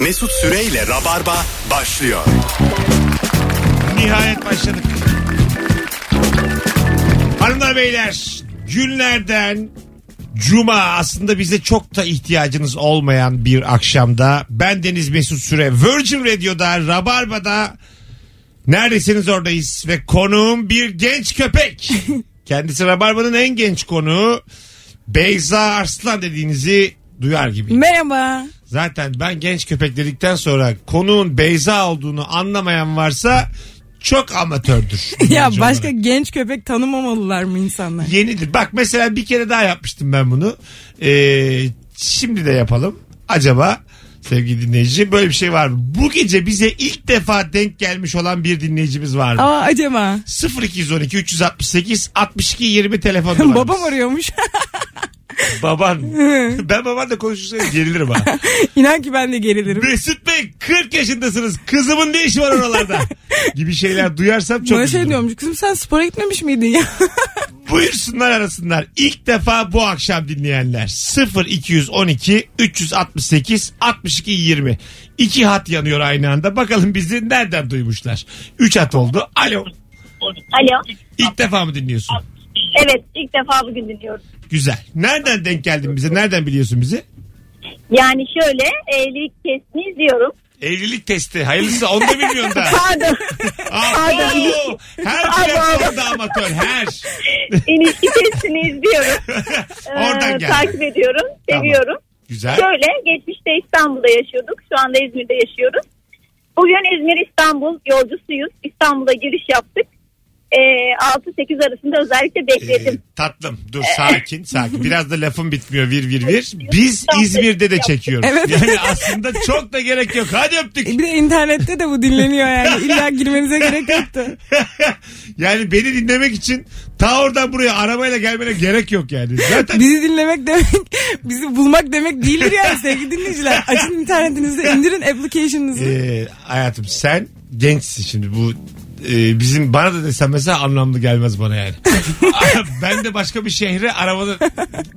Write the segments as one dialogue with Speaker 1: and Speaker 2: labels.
Speaker 1: Mesut Süreyle Rabarba başlıyor.
Speaker 2: Nihayet başladık. Hanımlar beyler günlerden Cuma aslında bize çok da ihtiyacınız olmayan bir akşamda ben Deniz Mesut Süre Virgin Radio'da Rabarba'da neredesiniz oradayız ve konuğum bir genç köpek. Kendisi Rabarba'nın en genç konuğu Beyza Arslan dediğinizi duyar gibi.
Speaker 3: Merhaba.
Speaker 2: Zaten ben genç köpek dedikten sonra konuğun Beyza olduğunu anlamayan varsa çok amatördür.
Speaker 3: Ya
Speaker 2: Bence
Speaker 3: başka
Speaker 2: olarak.
Speaker 3: genç köpek tanımamalılar mı insanlar?
Speaker 2: Yenidir. Bak mesela bir kere daha yapmıştım ben bunu. Ee, şimdi de yapalım. Acaba sevgili dinleyici böyle bir şey var mı? Bu gece bize ilk defa denk gelmiş olan bir dinleyicimiz var mı?
Speaker 3: Aa acaba.
Speaker 2: 0212 368 62 20 telefon numaramız.
Speaker 3: Babam arıyormuş.
Speaker 2: Baban. ben babanla konuşursam gerilirim ha.
Speaker 3: İnan ki ben de gerilirim.
Speaker 2: Mesut Bey 40 yaşındasınız. Kızımın ne işi var oralarda? gibi şeyler duyarsam çok
Speaker 3: Bana şey
Speaker 2: üzülürüm.
Speaker 3: diyormuş kızım sen spora gitmemiş miydin ya?
Speaker 2: Buyursunlar arasınlar. İlk defa bu akşam dinleyenler 0 212 368 62 20. İki hat yanıyor aynı anda. Bakalım bizi nereden duymuşlar? 3 hat oldu. Alo.
Speaker 4: Alo.
Speaker 2: İlk defa mı dinliyorsun?
Speaker 4: Evet ilk defa bugün dinliyoruz.
Speaker 2: Güzel. Nereden denk geldin bize? Nereden biliyorsun bizi?
Speaker 4: Yani şöyle evlilik testini izliyorum.
Speaker 2: Evlilik testi. Hayırlısı onu da bilmiyorsun da.
Speaker 4: Pardon.
Speaker 2: Abo! Her platformda amatör. Her.
Speaker 4: İlişki testini izliyorum. Ee,
Speaker 2: Oradan geldi.
Speaker 4: Takip ediyorum.
Speaker 2: Tamam.
Speaker 4: Seviyorum.
Speaker 2: Güzel.
Speaker 4: Şöyle geçmişte İstanbul'da yaşıyorduk. Şu anda İzmir'de yaşıyoruz. Bugün İzmir İstanbul yolcusuyuz. İstanbul'a giriş yaptık. Ee, 6-8 arasında özellikle
Speaker 2: Ee,
Speaker 4: bekledim.
Speaker 2: tatlım dur sakin sakin. Biraz da lafım bitmiyor vir vir vir. Biz İzmir'de de çekiyoruz.
Speaker 3: Evet.
Speaker 2: Yani aslında çok da gerek yok. Hadi öptük.
Speaker 3: bir de internette de bu dinleniyor yani. İlla girmenize gerek yoktu.
Speaker 2: yani beni dinlemek için ta oradan buraya arabayla gelmene gerek yok yani. Zaten
Speaker 3: Bizi dinlemek demek, bizi bulmak demek değildir yani sevgili dinleyiciler. Açın internetinizi, indirin application'ınızı.
Speaker 2: Ee, hayatım sen gençsin şimdi bu e, bizim bana da desen mesela anlamlı gelmez bana yani. ben de başka bir şehre arabada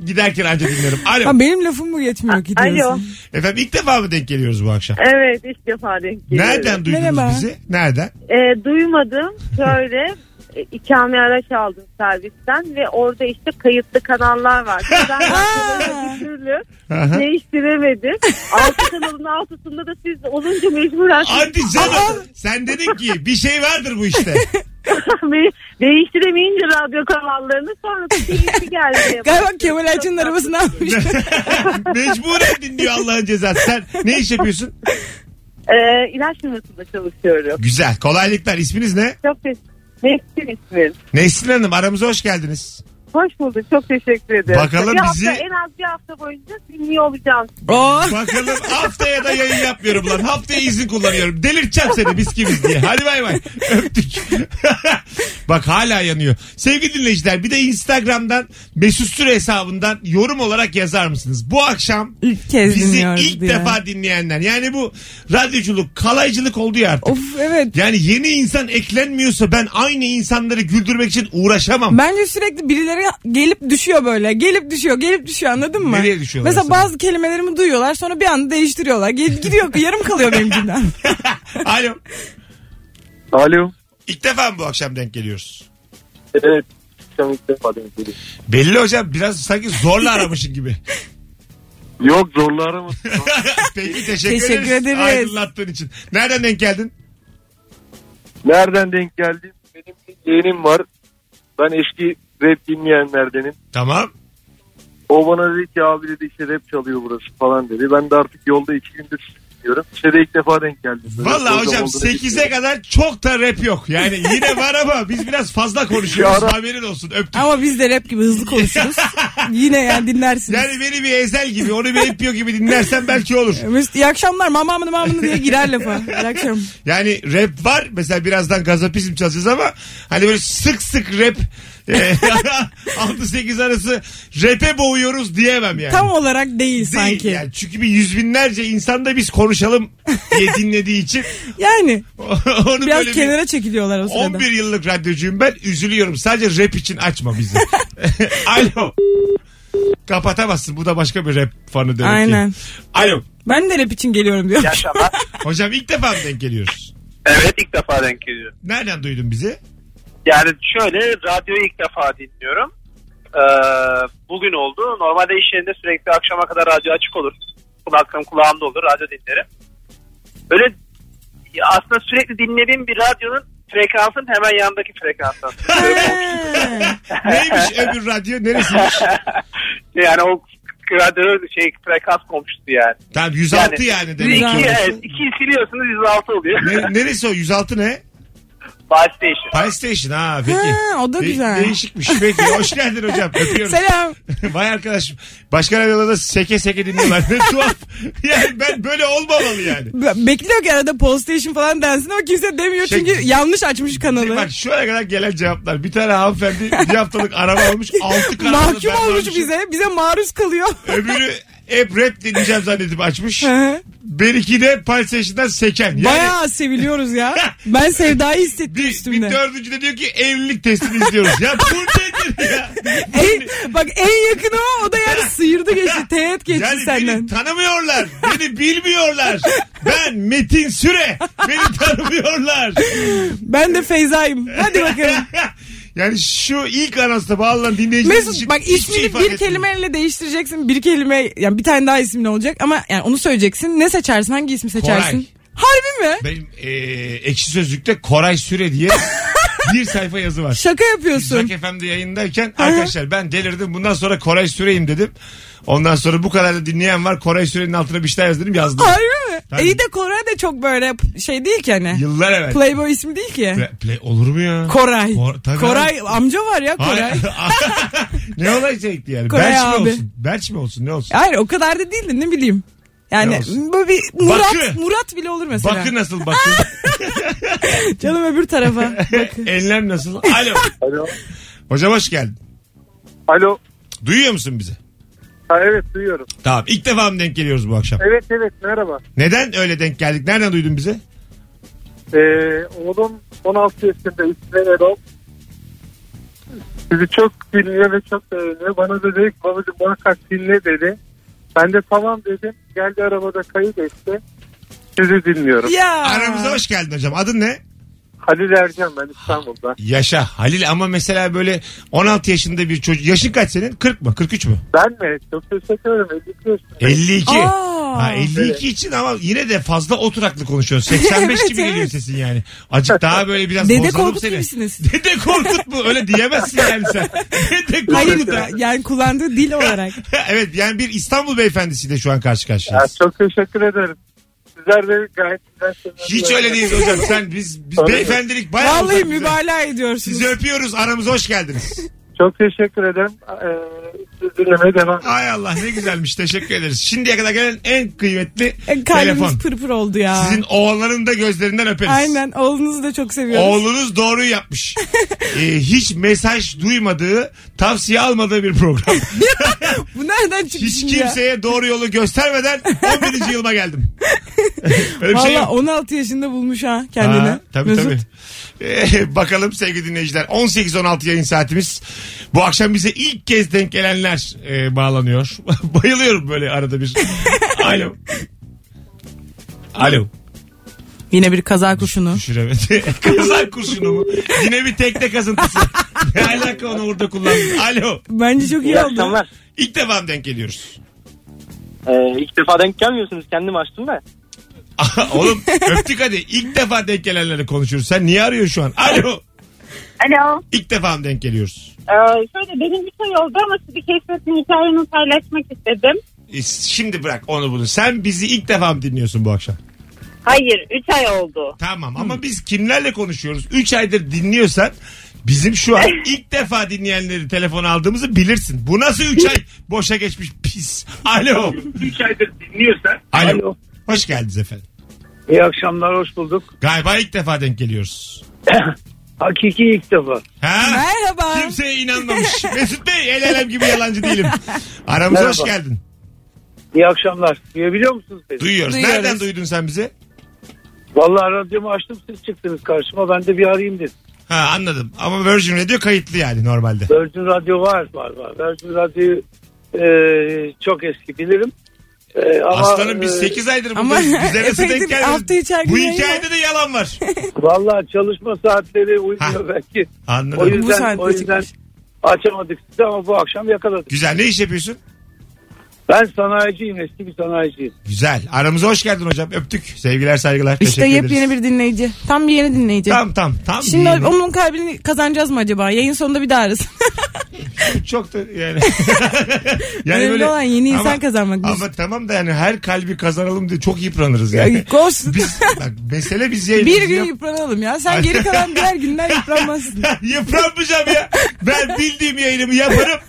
Speaker 2: giderken anca dinlerim. Alo.
Speaker 3: Ha, benim lafım mı geçmiyor ki
Speaker 5: Alo.
Speaker 3: diyorsun.
Speaker 2: Efendim ilk defa mı denk geliyoruz bu akşam?
Speaker 5: Evet ilk defa denk geliyorum.
Speaker 2: Nereden duydunuz
Speaker 3: Merhaba.
Speaker 2: bizi? Nereden?
Speaker 5: Ee, duymadım. Şöyle e, ikame araç aldım servisten ve orada işte kayıtlı kanallar var. Ben kanalları bir türlü
Speaker 2: Aha.
Speaker 5: değiştiremedim. Altı kanalın altısında da siz olunca mecburen
Speaker 2: Hadi canım. Sen dedin ki bir şey vardır bu işte.
Speaker 5: Ve- değiştiremeyince radyo kanallarını sonra da TV'si geldi.
Speaker 3: Galiba Kemal Ayça'nın arabasını almış.
Speaker 2: Mecburen dinliyor Allah'ın cezası. Sen ne iş yapıyorsun?
Speaker 5: Ee, ilaç firmasında çalışıyorum.
Speaker 2: Güzel. Kolaylıklar. İsminiz ne?
Speaker 5: Çok teşekkür Nesrin ismim.
Speaker 2: Nesrin Hanım aramıza hoş geldiniz.
Speaker 5: Hoş bulduk. Çok teşekkür ederim.
Speaker 2: Bakalım
Speaker 5: bir
Speaker 2: bizi-
Speaker 5: Hafta, en az bir hafta boyunca dinliyor olacağım.
Speaker 3: Oo.
Speaker 2: Bakalım haftaya da yayın yapmıyorum lan. Haftaya izin kullanıyorum. Delirteceğim seni biz kimiz diye. Hadi bay bay. Öptük. Bak hala yanıyor. Sevgili dinleyiciler bir de Instagram'dan Mesut Süre hesabından yorum olarak yazar mısınız? Bu akşam
Speaker 3: İlk kez
Speaker 2: bizi
Speaker 3: dinliyoruz
Speaker 2: ilk
Speaker 3: diye.
Speaker 2: defa dinleyenler. Yani bu radyoculuk, kalaycılık oldu ya artık.
Speaker 3: Of evet.
Speaker 2: Yani yeni insan eklenmiyorsa ben aynı insanları güldürmek için uğraşamam.
Speaker 3: Bence sürekli birileri gelip düşüyor böyle. Gelip düşüyor, gelip düşüyor anladın mı?
Speaker 2: Nereye düşüyorlar
Speaker 3: Mesela
Speaker 2: aslında?
Speaker 3: bazı kelimelerimi duyuyorlar sonra bir anda değiştiriyorlar. Gel- gidiyor, yarım kalıyor benimkinden.
Speaker 2: Alo.
Speaker 6: Alo.
Speaker 2: İlk defa mı bu akşam denk geliyoruz?
Speaker 6: Evet. Akşam ilk defa denk geliyor.
Speaker 2: Belli hocam biraz sanki zorla aramışın gibi.
Speaker 6: Yok zorla aramadım.
Speaker 2: Peki teşekkür,
Speaker 3: Teşekkür
Speaker 2: ederiz.
Speaker 3: ederiz.
Speaker 2: Aydınlattığın için. Nereden denk geldin?
Speaker 6: Nereden denk geldim? Benim bir yeğenim var. Ben eski rap dinleyenlerdenim.
Speaker 2: Tamam.
Speaker 6: O bana dedi ki abi dedi işte rap çalıyor burası falan dedi. Ben de artık yolda iki gündür dinliyorum. İşte de ilk defa denk geldim. Böyle
Speaker 2: Valla
Speaker 6: program
Speaker 2: hocam
Speaker 6: olduğunu
Speaker 2: 8'e
Speaker 6: bilmiyorum.
Speaker 2: kadar çok da rap yok. Yani yine var ama biz biraz fazla konuşuyoruz.
Speaker 6: Ya Rab-
Speaker 2: Haberin olsun. Öptük.
Speaker 3: Ama biz de rap gibi hızlı konuşuruz. Yine yani dinlersiniz.
Speaker 2: Yani beni bir ezel gibi, onu bir epiyo gibi dinlersen belki olur.
Speaker 3: Mesut, iyi akşamlar mamamını mamını diye girer lafa. İyi akşam.
Speaker 2: Yani rap var. Mesela birazdan gazapizm çalacağız ama hani böyle sık sık rap e, 6-8 arası rap'e boğuyoruz diyemem yani.
Speaker 3: Tam olarak değil,
Speaker 2: Değil
Speaker 3: sanki. Yani.
Speaker 2: yani. Çünkü bir yüz binlerce insan da biz konuşalım diye dinlediği için onu
Speaker 3: biraz
Speaker 2: böyle bir-
Speaker 3: kenara çekiliyorlar o sırada.
Speaker 2: 11 yıllık radyocuyum ben üzülüyorum. Sadece rap için açma bizi. Alo. Kapatamazsın. Bu da başka bir rap fanı demek
Speaker 3: Aynen.
Speaker 2: ki. Alo.
Speaker 3: Ben de rap için geliyorum diyor.
Speaker 7: Yaşamlar.
Speaker 2: Hocam ilk defa mı denk geliyoruz?
Speaker 7: evet ilk defa denk geliyor.
Speaker 2: Nereden duydun bizi?
Speaker 7: Yani şöyle radyoyu ilk defa dinliyorum. Ee, bugün oldu. Normalde iş yerinde sürekli akşama kadar radyo açık olur. Kulaklığım kulağımda olur. Radyo dinlerim. Böyle ya aslında sürekli dinlediğim bir radyonun frekansın hemen yanındaki frekanstan.
Speaker 2: Neymiş öbür radyo? Neresiymiş?
Speaker 7: yani o radyo şey frekans komşusu yani.
Speaker 2: Tamam 106 yani, demek
Speaker 7: iki,
Speaker 2: ki.
Speaker 7: evet, ikiyi siliyorsunuz 106 oluyor.
Speaker 2: Ne- neresi o? 106 ne?
Speaker 7: Bus station.
Speaker 2: PlayStation ha peki.
Speaker 3: Ha, o da güzel.
Speaker 2: Değişikmiş. Peki hoş geldin hocam. Öpüyorum.
Speaker 3: Selam.
Speaker 2: Vay arkadaş. Başka radyolarda seke seke dinliyorlar. Ne tuhaf. Yani ben böyle olmamalı yani.
Speaker 3: Be- Bekliyor ki arada PlayStation falan densin ama kimse demiyor
Speaker 2: Şey-
Speaker 3: çünkü yanlış açmış
Speaker 2: Şimdi
Speaker 3: kanalı.
Speaker 2: bak şu ana kadar gelen cevaplar. Bir tane hanımefendi bir haftalık araba almış. Altı kanalda
Speaker 3: Mahkum
Speaker 2: ben
Speaker 3: olmuş
Speaker 2: varmışım.
Speaker 3: bize. Bize maruz kalıyor.
Speaker 2: Öbürü hep rap dinleyeceğim zannedip açmış.
Speaker 3: Hı hı.
Speaker 2: Beriki de PlayStation'dan seken. Yani
Speaker 3: Bayağı seviliyoruz ya. Ben sevdayı hissettim
Speaker 2: bir, bir
Speaker 3: üstümde.
Speaker 2: dördüncü de diyor ki evlilik testini izliyoruz. ya bu nedir ya?
Speaker 3: En- bak en yakın o o da yani sıyırdı geçti. Teğet geçti
Speaker 2: Yani beni
Speaker 3: senden.
Speaker 2: tanımıyorlar. Beni bilmiyorlar. Ben Metin Süre. Beni tanımıyorlar.
Speaker 3: Ben de Feyza'yım. Hadi bakalım.
Speaker 2: yani şu ilk anonsla bağlanan dinleyicilerimiz
Speaker 3: Mesut bak ismini bir kelimeyle değiştireceksin. Bir kelime yani bir tane daha isimli olacak ama yani onu söyleyeceksin. Ne seçersin? Hangi ismi seçersin?
Speaker 2: Koray.
Speaker 3: Harbi mi?
Speaker 2: Benim e, ekşi sözlükte Koray Süre diye bir sayfa yazı var.
Speaker 3: Şaka yapıyorsun.
Speaker 2: Zak FM'de yayındayken arkadaşlar ben delirdim. Bundan sonra Koray Süre'yim dedim. Ondan sonra bu kadar da dinleyen var. Koray Süre'nin altına bir şeyler yazdım yazdım.
Speaker 3: Harbi mi?
Speaker 2: Tabii.
Speaker 3: İyi de Koray da çok böyle şey değil ki hani.
Speaker 2: Yıllar evvel.
Speaker 3: Playboy ismi değil ki.
Speaker 2: Play- play- olur mu ya?
Speaker 3: Koray.
Speaker 2: Kor- tabii
Speaker 3: Koray amca var ya Koray.
Speaker 2: Hayır.
Speaker 3: Hayır.
Speaker 2: ne olay çekti yani?
Speaker 3: Koray
Speaker 2: Berç mi
Speaker 3: abi.
Speaker 2: olsun? Berç mi olsun? Ne olsun?
Speaker 3: o kadar da değil de ne bileyim.
Speaker 2: Ne
Speaker 3: Yani
Speaker 2: olsun?
Speaker 3: böyle bir Murat,
Speaker 2: Bakı.
Speaker 3: Murat bile olur mesela.
Speaker 2: Bakı nasıl bakı?
Speaker 3: Canım öbür tarafa. Bakı.
Speaker 2: Enlem nasıl? Alo.
Speaker 6: Alo.
Speaker 2: Hocam hoş geldin.
Speaker 6: Alo.
Speaker 2: Duyuyor musun bizi?
Speaker 6: Ha, evet duyuyorum.
Speaker 2: Tamam. İlk defa mı denk geliyoruz bu akşam?
Speaker 6: Evet evet merhaba.
Speaker 2: Neden öyle denk geldik? Nereden duydun bizi?
Speaker 6: Ee, oğlum 16 yaşında ismi Erol. Sizi çok dinliyor ve çok beğeniyor. Bana da dedi ki babacım bana kaç dinle dedi. Ben de tamam dedim. Geldi arabada kayıt etti. Sizi dinliyorum.
Speaker 3: ya.
Speaker 2: Aramıza hoş geldin hocam. Adın ne?
Speaker 6: Halil Ercan ben İstanbul'dan.
Speaker 2: Yaşa Halil ama mesela böyle 16 yaşında bir çocuk. Yaşın kaç senin? 40 mı? 43 mü?
Speaker 6: Ben mi? Çok teşekkür ederim. 52 yaşındayım.
Speaker 2: 52.
Speaker 3: Aa.
Speaker 2: Ha, 52
Speaker 6: Evet.
Speaker 2: için ama yine de fazla oturaklı konuşuyorsun. 85
Speaker 3: Evet,
Speaker 2: gibi geliyor
Speaker 3: evet.
Speaker 2: sesin yani. Acık daha böyle biraz
Speaker 3: Dede
Speaker 2: bozalım
Speaker 3: Korkut
Speaker 2: seni.
Speaker 3: gibisiniz.
Speaker 2: Dede Korkut mu? Öyle diyemezsin yani sen. Dede
Speaker 3: Hayır
Speaker 2: Korkut. ha.
Speaker 3: yani kullandığı dil olarak.
Speaker 2: evet yani bir İstanbul beyefendisiyle şu an karşı
Speaker 6: Ya,
Speaker 2: karşıyayız.
Speaker 6: çok teşekkür ederim. Sizler de gayet güzel şeyler
Speaker 2: Hiç
Speaker 6: söylediniz.
Speaker 2: öyle değil hocam. Sen biz, biz
Speaker 6: Tabii.
Speaker 2: beyefendilik bayağı
Speaker 3: Vallahi
Speaker 2: uzak bize.
Speaker 3: mübalağa ediyorsunuz.
Speaker 2: Sizi öpüyoruz. Aramıza hoş geldiniz.
Speaker 6: Çok teşekkür ederim. Ee, sizi dinlemeye devam
Speaker 2: Ay Allah ne güzelmiş. Teşekkür ederiz. Şimdiye kadar gelen en kıymetli telefon.
Speaker 3: E, Kalbimiz pırpır oldu ya.
Speaker 2: Sizin oğlanların da gözlerinden öperiz.
Speaker 3: Aynen oğlunuzu da çok seviyoruz.
Speaker 2: Oğlunuz doğruyu yapmış. Ee, hiç mesaj duymadığı, tavsiye almadığı bir program.
Speaker 3: Bu nereden çıktı
Speaker 2: Hiç
Speaker 3: şimdi ya?
Speaker 2: kimseye doğru yolu göstermeden 11. yılıma geldim. Öyle bir
Speaker 3: Valla
Speaker 2: şey yok.
Speaker 3: 16 yaşında bulmuş ha kendini.
Speaker 2: Ha, tabii
Speaker 3: Mesut.
Speaker 2: tabii. Ee, bakalım sevgili dinleyiciler. 18-16 yayın saatimiz. Bu akşam bize ilk kez denk gelenler e, bağlanıyor. Bayılıyorum böyle arada bir. Alo. Alo.
Speaker 3: Yine bir kaza kurşunu.
Speaker 2: Düşüremedi. Kazan kurşunu mu? Yine bir tekne kazıntısı. ne alaka onu orada kullandın? Alo.
Speaker 3: Bence çok iyi
Speaker 8: İyi
Speaker 3: oldu.
Speaker 8: akşamlar.
Speaker 2: İlk defa mı denk geliyoruz?
Speaker 8: Ee, ilk defa denk gelmiyorsunuz. Kendim açtım da.
Speaker 2: Oğlum öptük hadi. İlk defa denk gelenlerle konuşuyoruz. Sen niye arıyorsun şu an? Alo.
Speaker 4: Alo.
Speaker 2: İlk defa mı denk geliyoruz?
Speaker 5: E,
Speaker 4: Ee, şöyle benim bir şey oldu ama sizi keşfettim hikayemi paylaşmak istedim.
Speaker 2: E, Şimdi bırak onu bunu. Sen bizi ilk defa mı dinliyorsun bu akşam?
Speaker 4: Hayır 3 ay oldu.
Speaker 2: Tamam ama biz kimlerle konuşuyoruz? 3 aydır dinliyorsan bizim şu an ilk defa dinleyenleri telefon aldığımızı bilirsin. Bu nasıl 3 ay boşa geçmiş pis. Alo.
Speaker 7: 3 aydır dinliyorsan.
Speaker 2: Alo. Hoş geldiniz efendim.
Speaker 9: İyi akşamlar, hoş bulduk.
Speaker 2: Galiba ilk defa denk geliyoruz.
Speaker 9: Hakiki ilk defa.
Speaker 2: Ha?
Speaker 3: Merhaba.
Speaker 2: Kimseye inanmamış. Mesut Bey el alem gibi yalancı değilim. Aramıza hoş
Speaker 9: Merhaba.
Speaker 2: geldin.
Speaker 9: İyi akşamlar. Duyabiliyor musunuz beni?
Speaker 2: Duyuyoruz.
Speaker 3: Duyuyoruz.
Speaker 2: Nereden duydun sen bizi?
Speaker 9: Vallahi radyomu açtım, siz çıktınız karşıma. Ben de bir arayayım dedim.
Speaker 2: Ha anladım. Ama Virgin Radio kayıtlı yani normalde.
Speaker 9: Virgin Radyo var, var, var. Virgin Radyo'yu Ee, çok eski bilirim. Ee, ama,
Speaker 2: Aslanım biz
Speaker 9: e,
Speaker 2: 8 aydır
Speaker 3: ama
Speaker 2: buradayız. Bize nasıl
Speaker 3: epeydir
Speaker 2: denk geldi?
Speaker 3: hafta içi her gün
Speaker 2: Bu
Speaker 3: yayın
Speaker 2: hikayede de yalan var.
Speaker 9: Vallahi çalışma saatleri uymuyor
Speaker 2: Ha.
Speaker 9: belki. O
Speaker 2: Anladım.
Speaker 3: Bu
Speaker 9: yüzden,
Speaker 3: saatte
Speaker 9: o yüzden
Speaker 3: çıkmış.
Speaker 9: açamadık sizi ama bu akşam yakaladık.
Speaker 2: Güzel ne iş yapıyorsun?
Speaker 9: Ben sanayiciyim eski bir sanayiciyim.
Speaker 2: Güzel. Aramıza hoş geldin hocam. Öptük. Sevgiler saygılar.
Speaker 3: İşte
Speaker 2: Teşekkür ederiz.
Speaker 3: yepyeni bir dinleyici. Tam bir yeni dinleyici.
Speaker 2: Tam tam tam.
Speaker 3: Şimdi
Speaker 2: yeni.
Speaker 3: onun kalbini kazanacağız mı acaba? Yayın sonunda bir daha arasın.
Speaker 2: Çok da yani.
Speaker 3: Önemli olan yeni insan
Speaker 2: Ama-
Speaker 3: kazanmak. Biz-
Speaker 2: Ama tamam da yani her kalbi kazanalım diye çok yıpranırız yani.
Speaker 3: Koş.
Speaker 2: Biz, bak mesele biz yayınımızı
Speaker 3: bir gün
Speaker 2: yap-
Speaker 3: yıpranalım ya. Sen geri kalan diğer günler yıpranmazsın.
Speaker 2: Yıpranmayacağım ya. Ben bildiğim yayınımı yaparım.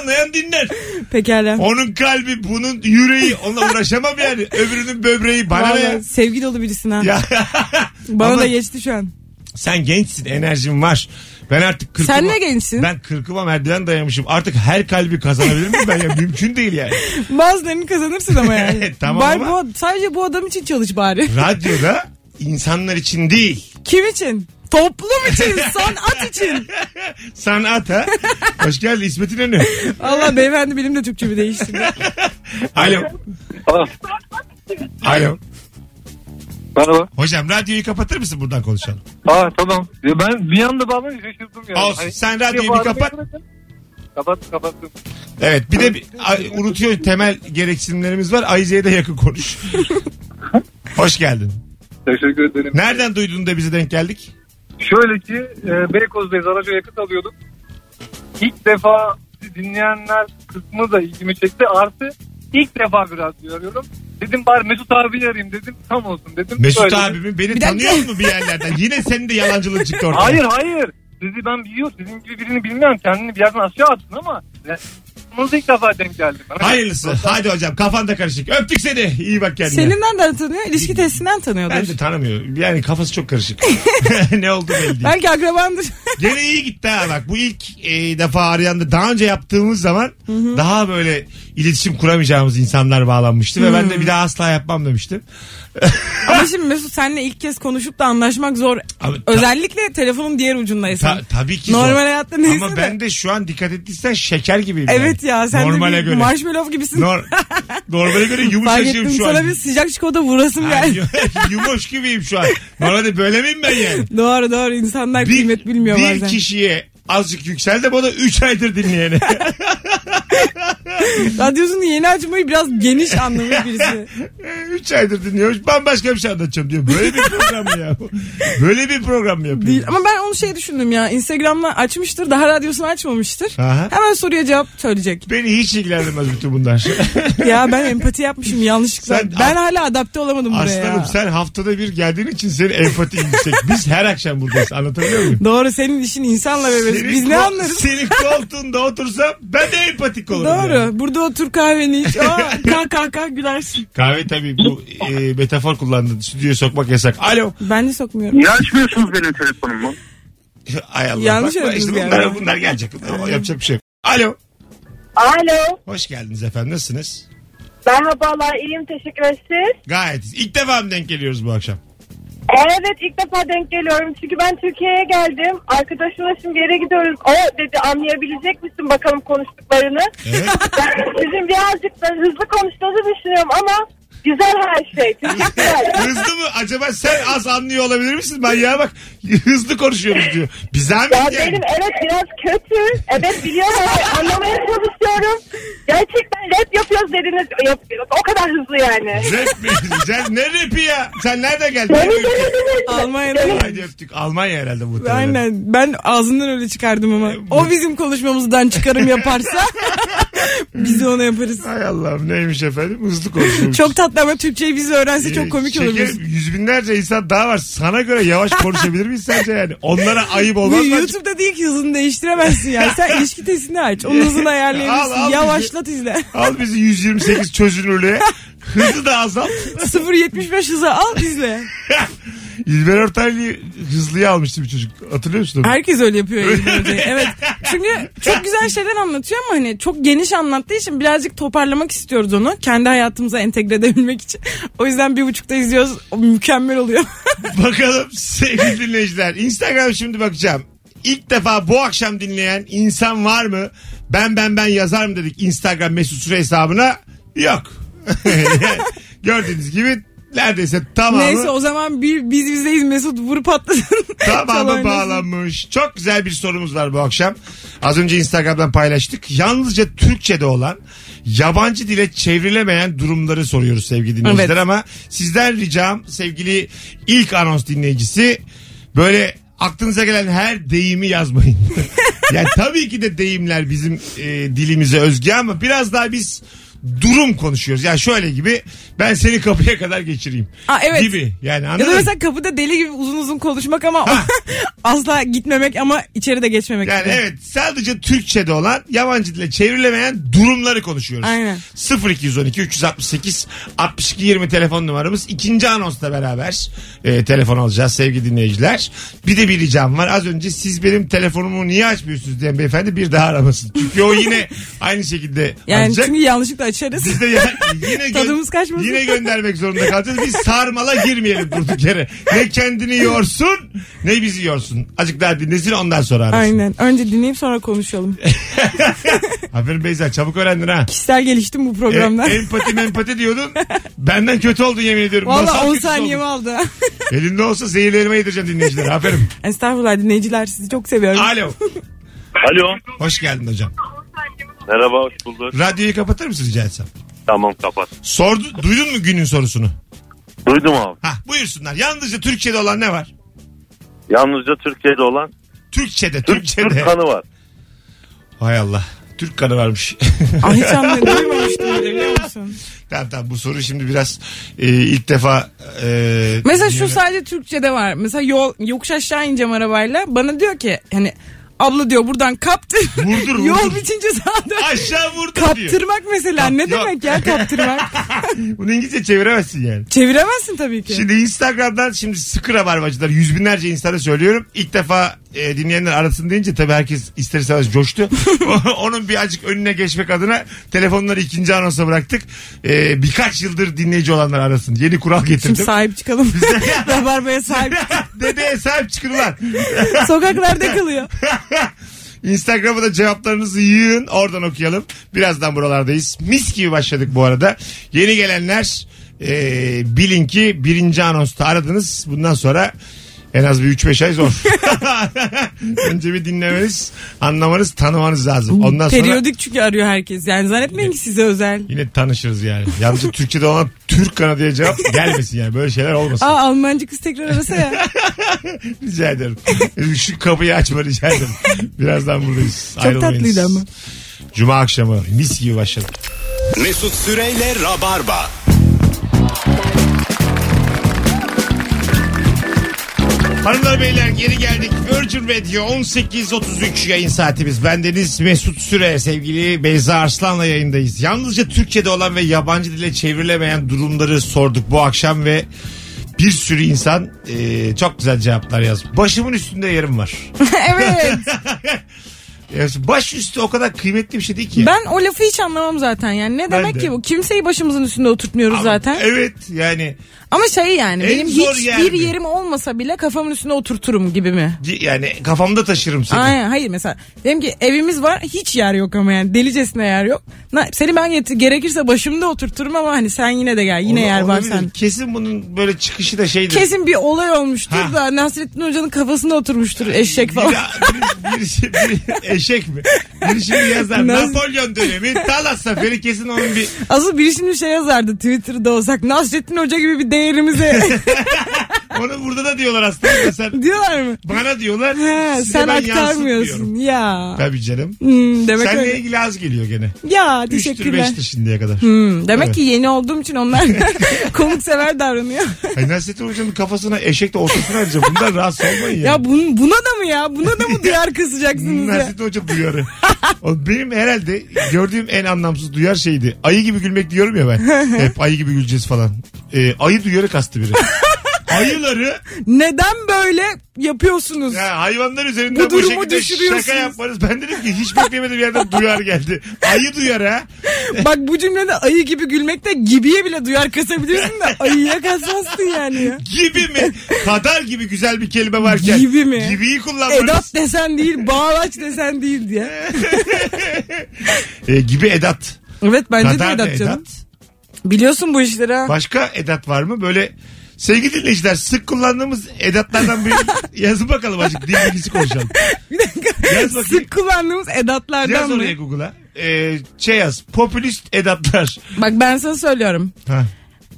Speaker 2: Anlayan dinler.
Speaker 3: Pekala.
Speaker 2: Onun kalbi, bunun yüreği. Onunla uğraşamam yani. Öbürünün böbreği. Bana ne ya?
Speaker 3: Vallahi sevgi dolu birisin ha.
Speaker 2: Ya.
Speaker 3: Bana
Speaker 2: Ama
Speaker 3: da geçti şu an.
Speaker 2: Sen gençsin, enerjin var. Ben artık kırkıma...
Speaker 3: Sen ne gençsin?
Speaker 2: Ben kırkıma merdiven dayamışım. Artık her kalbi kazanabilir miyim ben? Ya, mümkün değil yani.
Speaker 3: Bazılarını kazanırsın ama yani.
Speaker 2: Tamam
Speaker 3: Bari
Speaker 2: ama-
Speaker 3: bu- sadece bu adam için çalış bari.
Speaker 2: Radyoda insanlar için değil.
Speaker 3: Kim için? Toplum için, sanat için.
Speaker 2: Sanat ha. Hoş geldin İsmet İnönü.
Speaker 3: Allah beyefendi benim de Türkçemi değiştirdi.
Speaker 2: Alo.
Speaker 6: Ah,
Speaker 2: Alo.
Speaker 6: Merhaba.
Speaker 2: Hocam radyoyu kapatır mısın buradan konuşalım?
Speaker 6: Aa ah, tamam. Ya ben bir anda bağlanınca şaşırdım Hani yani.
Speaker 2: Olsun. Sen radyoyu bir kapat.
Speaker 6: Kapat kapattım.
Speaker 2: Evet bir de bir- ay- unutuyor temel gereksinimlerimiz var. Ayze'ye de yakın konuş. Hoş geldin.
Speaker 6: Teşekkür ederim.
Speaker 2: Nereden duydun da bize denk geldik?
Speaker 6: Şöyle ki e, Beykoz'dayız araca yakıt alıyorduk. İlk defa bizi dinleyenler kısmı da ilgimi çekti. Artı ilk defa bir radyo arıyorum. Dedim bari Mesut abi arayayım dedim. Tam olsun dedim.
Speaker 2: Mesut
Speaker 6: Söyledim.
Speaker 2: abimi beni
Speaker 3: Bir dakika.
Speaker 2: tanıyor mu bir yerlerden? Yine senin de yalancılığın çıktı ortaya.
Speaker 6: Hayır hayır. Sizi ben biliyorum. Sizin gibi birini bilmiyorum. Kendini bir yerden aşağı attın ama. Bunu ilk defa denk geldim.
Speaker 2: Hayırlısı. Hadi hocam kafanda karışık. Öptük seni. İyi bak kendine.
Speaker 3: Senin nereden tanıyor? İlişki testinden tanıyordur.
Speaker 2: Ben de tanımıyor. Yani kafası çok karışık. ne oldu belli değil.
Speaker 3: Belki akrabandır.
Speaker 2: Gene iyi gitti ha bak. Bu ilk e, defa arayan da daha önce yaptığımız zaman daha böyle iletişim kuramayacağımız insanlar bağlanmıştı. Ve ben de bir daha asla yapmam demiştim.
Speaker 3: Ama şimdi Mesut seninle ilk kez konuşup da anlaşmak zor.
Speaker 2: Abi, ta-
Speaker 3: Özellikle telefonun diğer ucundaysan.
Speaker 2: Ta- tabii ki
Speaker 3: E Normal
Speaker 2: zor.
Speaker 3: hayatta neyse
Speaker 2: Ama
Speaker 3: de.
Speaker 2: ben de şu an dikkat ettiysen şeker gibiyim.
Speaker 3: Evet
Speaker 2: yani.
Speaker 3: ya sen
Speaker 2: Normale
Speaker 3: de bir
Speaker 2: göre.
Speaker 3: marshmallow gibisin.
Speaker 2: Nor- Normale göre
Speaker 3: Fark
Speaker 2: yumuşacığım
Speaker 3: ettim
Speaker 2: şu
Speaker 3: sana
Speaker 2: an.
Speaker 3: bir sıcak çikolata vurasım
Speaker 2: Yani
Speaker 3: geldi.
Speaker 2: yumuş gibiyim şu an. Normalde böyle miyim ben yani?
Speaker 3: doğru doğru insanlar kıymet bilmiyor
Speaker 2: bir
Speaker 3: bazen.
Speaker 2: kişiye azıcık yüksel de bana 3 aydır dinleyene.
Speaker 3: Radyosunu yeni açmayı biraz geniş anlamış birisi.
Speaker 2: 3 Ee, aydır dinliyormuş. Bambaşka bir şey anlatacağım diyor. Böyle bir program mı ya? Böyle bir program mı yapıyor?
Speaker 3: Değil. Ama ben onu şey düşündüm ya. Instagram'la açmıştır daha radyosunu açmamıştır.
Speaker 2: Aha.
Speaker 3: Hemen soruya cevap söyleyecek.
Speaker 2: Beni hiç ilgilendirmez bütün bunlar.
Speaker 3: ya ben empati yapmışım yanlışlıkla.
Speaker 2: Sen-
Speaker 3: ben hala adapte olamadım buraya.
Speaker 2: Aslanım
Speaker 3: ya.
Speaker 2: sen haftada bir geldiğin için senin empatin yüksek. Biz her akşam buradayız. Anlatabiliyor muyum?
Speaker 3: Doğru senin işin insanla bebesi.
Speaker 2: Senin
Speaker 3: Biz ne
Speaker 2: kol-
Speaker 3: anlarız?
Speaker 2: Senin koltuğunda otursam ben de empatik olurum.
Speaker 3: Doğru.
Speaker 2: yani.
Speaker 3: Burada otur kahveni iç. Aa, kah kah kah gülersin.
Speaker 2: Kahve tabii bu e, metafor kullandın. Stüdyoya sokmak yasak. Alo.
Speaker 3: Ben de sokmuyorum.
Speaker 9: Niye açmıyorsunuz benim telefonumu?
Speaker 2: Ay Allah.
Speaker 3: Yanlış
Speaker 2: Bakma işte
Speaker 3: öğrendiniz
Speaker 2: bunlar,
Speaker 3: yani.
Speaker 2: bunlar gelecek. Bunlar, yapacak bir şey yok. Alo.
Speaker 4: Alo.
Speaker 2: Hoş geldiniz efendim. Nasılsınız?
Speaker 4: Merhabalar. iyiyim Teşekkür ederiz.
Speaker 2: Gayet. iyiyiz. İlk defa mı denk geliyoruz bu akşam?
Speaker 4: Evet ilk defa denk geliyorum. Çünkü ben Türkiye'ye geldim. Arkadaşımla şimdi bir yere gidiyoruz. O dedi anlayabilecek misin bakalım konuştuklarını.
Speaker 2: Evet.
Speaker 4: Ben sizin birazcık da hızlı konuştuğunuzu düşünüyorum ama güzel her şey. Teşekkür ederim.
Speaker 2: Hızlı mı? Acaba sen az anlıyor olabilir misin? Manyağa bak. Hızlı konuşuyoruz diyor. Bir zahmet
Speaker 4: Ya
Speaker 2: yani.
Speaker 4: benim evet biraz kötü. Evet biliyorum ama anlamaya çalışıyorum. Gerçekten rap yapıyoruz dediniz. Yapıyoruz. O kadar hızlı yani.
Speaker 2: Rap mi? Sen ne rapi ya? Sen nereden geldin?
Speaker 4: Beni dinlediniz.
Speaker 3: Almanya'da.
Speaker 2: Hadi öptük. Almanya herhalde muhtemelen.
Speaker 3: Aynen. Ben ağzından öyle çıkardım ama. O bizim konuşmamızdan çıkarım yaparsa biz de ona yaparız.
Speaker 2: Hay Allah'ım neymiş efendim? Hızlı konuşuyoruz.
Speaker 3: Çok tatlı ama Türkçeyi biz öğrense çok komik
Speaker 2: Şekerim,
Speaker 3: oluruz.
Speaker 2: yüz binlerce insan daha var. Sana göre yavaş konuşabilir miyiz sence yani? Onlara ayıp
Speaker 3: Bu
Speaker 2: olmaz mı?
Speaker 3: YouTube'da değil ki hızını değiştiremezsin yani. Sen ilişki testini aç. Onun hızını ayarlayabilirsin.
Speaker 2: Al, al bizi.
Speaker 3: Yavaşlat izle.
Speaker 2: Al bizi 128 çözünürlüğe. Hızı da azalt.
Speaker 3: 0.75 hıza al izle.
Speaker 2: İlber Ortaylı'yı hızlıya almıştı bir çocuk. Hatırlıyor musun? onu?
Speaker 3: Herkes öyle yapıyor yayınlarda. Evet. Çünkü çok güzel şeyler anlatıyor ama hani çok geniş anlattığı için birazcık toparlamak istiyoruz onu. Kendi hayatımıza entegre edebilmek için. O yüzden bir buçukta izliyoruz. O mükemmel oluyor.
Speaker 2: Bakalım sevgili dinleyiciler. Instagram şimdi bakacağım. İlk defa bu akşam dinleyen insan var mı? ben ben ben yazarım dedik Instagram mesut süre hesabına. Yok. Gördüğünüz gibi neredeyse tamamı
Speaker 3: Neyse o zaman bir, biz bizdeyiz Mesut vur patlasın. Çal
Speaker 2: Tamamı
Speaker 3: oynasın.
Speaker 2: bağlanmış. Çok güzel bir sorumuz var bu akşam. Az önce Instagram'dan paylaştık. Yalnızca Türkçe'de olan yabancı dile çevrilemeyen durumları soruyoruz sevgili dinleyiciler
Speaker 3: Evet.
Speaker 2: ama sizden ricam sevgili ilk anons dinleyicisi böyle aklınıza gelen her deyimi yazmayın. yani tabii ki de deyimler bizim e, dilimize özgü ama biraz daha biz durum konuşuyoruz. Yani şöyle gibi ben seni kapıya kadar geçireyim.
Speaker 3: Aa, evet.
Speaker 2: Gibi. Yani
Speaker 3: Ya da
Speaker 2: anladın mı?
Speaker 3: mesela kapıda deli gibi uzun uzun konuşmak ama
Speaker 2: Ha.
Speaker 3: asla gitmemek ama içeri de geçmemek.
Speaker 2: Yani
Speaker 3: gibi.
Speaker 2: evet sadece Türkçe'de olan yabancı dile çevrilemeyen durumları konuşuyoruz.
Speaker 3: Aynen.
Speaker 2: 0212 368 62 20 telefon numaramız. İkinci anonsla beraber e, telefon alacağız sevgili dinleyiciler. Bir de bir ricam var. Az önce siz benim telefonumu niye açmıyorsunuz diyen beyefendi bir daha aramasın. Çünkü o yine aynı şekilde
Speaker 3: Yani
Speaker 2: arayacak.
Speaker 3: çünkü yanlışlıkla açarız.
Speaker 2: Biz de ya- yine, gö-
Speaker 3: Tadımız kaçmasın.
Speaker 2: yine göndermek zorunda kalacağız. Biz sarmala girmeyelim durduk yere. Ne kendini yorsun ne bizi yorsun. Azıcık daha dinlesin ondan sonra arasın.
Speaker 3: Aynen. Önce dinleyip sonra konuşalım.
Speaker 2: Aferin Beyza çabuk öğrendin ha.
Speaker 3: Kişisel geliştim bu
Speaker 2: E,
Speaker 3: programda.
Speaker 2: empati empati diyordun. Benden kötü oldun yemin ediyorum.
Speaker 3: Valla
Speaker 2: Masal
Speaker 3: 10
Speaker 2: kötüsü
Speaker 3: saniyemi
Speaker 2: oldun.
Speaker 3: aldı.
Speaker 2: Elinde olsa zehirlerime yedireceğim dinleyicilere. Aferin.
Speaker 3: Estağfurullah dinleyiciler sizi çok seviyorum.
Speaker 2: Alo.
Speaker 7: Alo.
Speaker 2: Hoş geldin hocam.
Speaker 7: Merhaba hoş bulduk.
Speaker 2: Radyoyu kapatır mısın rica etsem?
Speaker 7: Tamam kapat.
Speaker 2: Sordu, duydun mu günün sorusunu?
Speaker 7: Duydum abi.
Speaker 2: Ha buyursunlar. Yalnızca Türkçe'de olan ne var?
Speaker 7: Yalnızca Türkiye'de olan
Speaker 2: Türkçe'de,
Speaker 7: Türk,
Speaker 2: Türkçe'de.
Speaker 7: Türk kanı var.
Speaker 2: Hay Allah. Türk kanı varmış.
Speaker 3: Ay, hiç anlayamadım. Duymamıştım bile, biliyor musun?
Speaker 2: tamam tamam bu soru şimdi biraz e, ilk defa e,
Speaker 3: Mesela şu
Speaker 2: dinliyorum.
Speaker 3: sadece Türkçe'de var. Mesela yol, yokuş aşağı ineceğim arabayla. Bana diyor ki hani abla diyor buradan kaptır.
Speaker 2: Vurdur, vurdur.
Speaker 3: Yol bitince sağa dön.
Speaker 2: aşağı vurdu diyor.
Speaker 3: Kaptırmak mesela
Speaker 2: Kap-
Speaker 3: ne
Speaker 2: yok.
Speaker 3: demek ya kaptırmak?
Speaker 2: Bunu İngilizce çeviremezsin yani.
Speaker 3: Çeviremezsin tabii ki.
Speaker 2: Şimdi Instagram'dan şimdi sıkı rabarbacılar yüz binlerce insana söylüyorum. İlk defa e, dinleyenler arasın deyince tabii herkes ister istemez coştu. O- Onun bir acık önüne geçmek adına telefonları ikinci anonsa bıraktık. E, birkaç yıldır dinleyici olanlar arasın. Yeni kural
Speaker 3: Şimdi
Speaker 2: getirdim.
Speaker 3: sahip çıkalım. Rabarbaya sahip.
Speaker 2: Dedeye sahip çıkın lan.
Speaker 3: Sokaklarda kalıyor.
Speaker 2: Instagram'a da cevaplarınızı yığın. Oradan okuyalım. Birazdan buralardayız. Mis gibi başladık bu arada. Yeni gelenler e, bilin ki birinci anonsta aradınız. Bundan sonra en az bir 3-5 ay zor. Önce bir dinlemeniz, anlamanız, tanımanız lazım. Ondan sonra
Speaker 3: Periyodik çünkü arıyor herkes. Yani zannetmeyin ki size özel.
Speaker 2: yine tanışırız yani. Yalnızca Türkçe'de olan Türk kanadı diye cevap gelmesin yani. Böyle şeyler olmasın.
Speaker 3: Aa Almancı kız tekrar arasa ya.
Speaker 2: Rica ederim. E, Şu kapıyı açma rica ederim. Birazdan buradayız.
Speaker 3: Çok tatlıydı ama.
Speaker 2: Cuma akşamı mis gibi başladı.
Speaker 1: Mesut Süreyle Rabarba.
Speaker 2: Hanımlar beyler geri geldik. Virgin Radio 18.33 yayın saatimiz. Bendeniz Mesut Süre sevgili Beyza Arslan'la yayındayız. Yalnızca Türkçe'de olan ve yabancı dile çevrilemeyen durumları sorduk bu akşam ve bir sürü insan e, çok güzel cevaplar yazmış. Başımın üstünde yerim var.
Speaker 3: evet.
Speaker 2: Ya, Baş üstü o kadar kıymetli bir şey değil ki.
Speaker 3: Ben o lafı hiç anlamam zaten. Yani ne demek
Speaker 2: de.
Speaker 3: ki bu? Kimseyi başımızın üstünde oturtmuyoruz zaten.
Speaker 2: Evet yani
Speaker 3: Ama şey yani
Speaker 2: En
Speaker 3: benim
Speaker 2: zor
Speaker 3: hiç
Speaker 2: yer
Speaker 3: bir
Speaker 2: mi?
Speaker 3: yerim olmasa bile kafamın üstüne oturturum gibi mi?
Speaker 2: yani kafamda taşırım seni.
Speaker 3: Aynen hayır mesela diyelim ki evimiz var hiç yer yok ama yani delicesine yer yok. Na, seni ben yet- gerekirse başımda oturturum ama hani sen yine de gel yine
Speaker 2: Onu-
Speaker 3: yer
Speaker 2: onu
Speaker 3: var
Speaker 2: bilirim.
Speaker 3: sen.
Speaker 2: Kesin bunun böyle çıkışı da şeydir.
Speaker 3: Kesin bir olay olmuştur
Speaker 2: Ha.
Speaker 3: da Nasrettin Hoca'nın kafasına oturmuştur eşek falan.
Speaker 2: Bir, bir, bir, bir- eşek mi? Bir şimdi yazar.
Speaker 3: Nasıl?
Speaker 2: Napolyon dönemi Talas Seferi kesin onun bir
Speaker 3: Asıl biri şimdi şey yazardı Twitter'da olsak Nasrettin Hoca gibi bir değerimize
Speaker 2: onu burada da diyorlar aslında. da Sen,
Speaker 3: diyorlar mı?
Speaker 2: bana diyorlar.
Speaker 3: He,
Speaker 2: size
Speaker 3: sen
Speaker 2: ben yansıt
Speaker 3: aktarmıyorsun
Speaker 2: diyorum.
Speaker 3: ya.
Speaker 2: Tabii canım.
Speaker 3: Hmm, demek
Speaker 2: Seninle
Speaker 3: öyle.
Speaker 2: ilgili az geliyor gene.
Speaker 3: Ya
Speaker 2: Üçtür
Speaker 3: teşekkürler.
Speaker 2: beştir şimdiye kadar.
Speaker 3: Hmm, demek
Speaker 2: Evet.
Speaker 3: ki yeni olduğum için onlar konuksever davranıyor.
Speaker 2: Ay, Nasrettin Hoca'nın kafasına eşek de otursun ayrıca. Bundan rahatsız olmayın ya.
Speaker 3: ya bun, buna da mı ya? Buna da mı duyar kısacaksınız ya?
Speaker 2: Nasrettin Hoca duyarı. O benim herhalde gördüğüm en anlamsız duyar şeydi. Ayı gibi gülmek diyorum ya ben. Hep ayı gibi güleceğiz falan. Ee, ayı duyarı kastı biri. ayıları
Speaker 3: Neden böyle yapıyorsunuz?
Speaker 2: ya hayvanlar üzerinden bu,
Speaker 3: Bu durumu
Speaker 2: şekilde
Speaker 3: düşürüyorsunuz.
Speaker 2: şaka yapmanız. Ben dedim ki hiç beklemediğim yerden duyar geldi. Ayı duyar ha.
Speaker 3: Bak bu cümlede ayı gibi gülmekte gibiye bile duyar kasabilirsin de ayıya kasmazsın yani ya.
Speaker 2: Gibi mi? Kadar gibi güzel bir kelime varken.
Speaker 3: Gibi mi?
Speaker 2: Gibiyi kullanmanız.
Speaker 3: Edat desen değil, bağlaç desen değil diye.
Speaker 2: E, gibi edat.
Speaker 3: Evet bence de
Speaker 2: Kadar da
Speaker 3: Edat canım. Biliyorsun bu işleri ha.
Speaker 2: Başka edat var mı? Böyle sevgili dinleyiciler sık kullandığımız edatlardan bir yazın bakalım azıcık. Dil bilgisi konuşalım.
Speaker 3: Bir dakika.
Speaker 2: Yaz bakayım.
Speaker 3: Sık kullandığımız edatlardan
Speaker 2: Yaz
Speaker 3: mı?
Speaker 2: oraya Google'a. Ee, şey yaz. Popülist edatlar.
Speaker 3: Bak ben sana söylüyorum.
Speaker 2: Ha.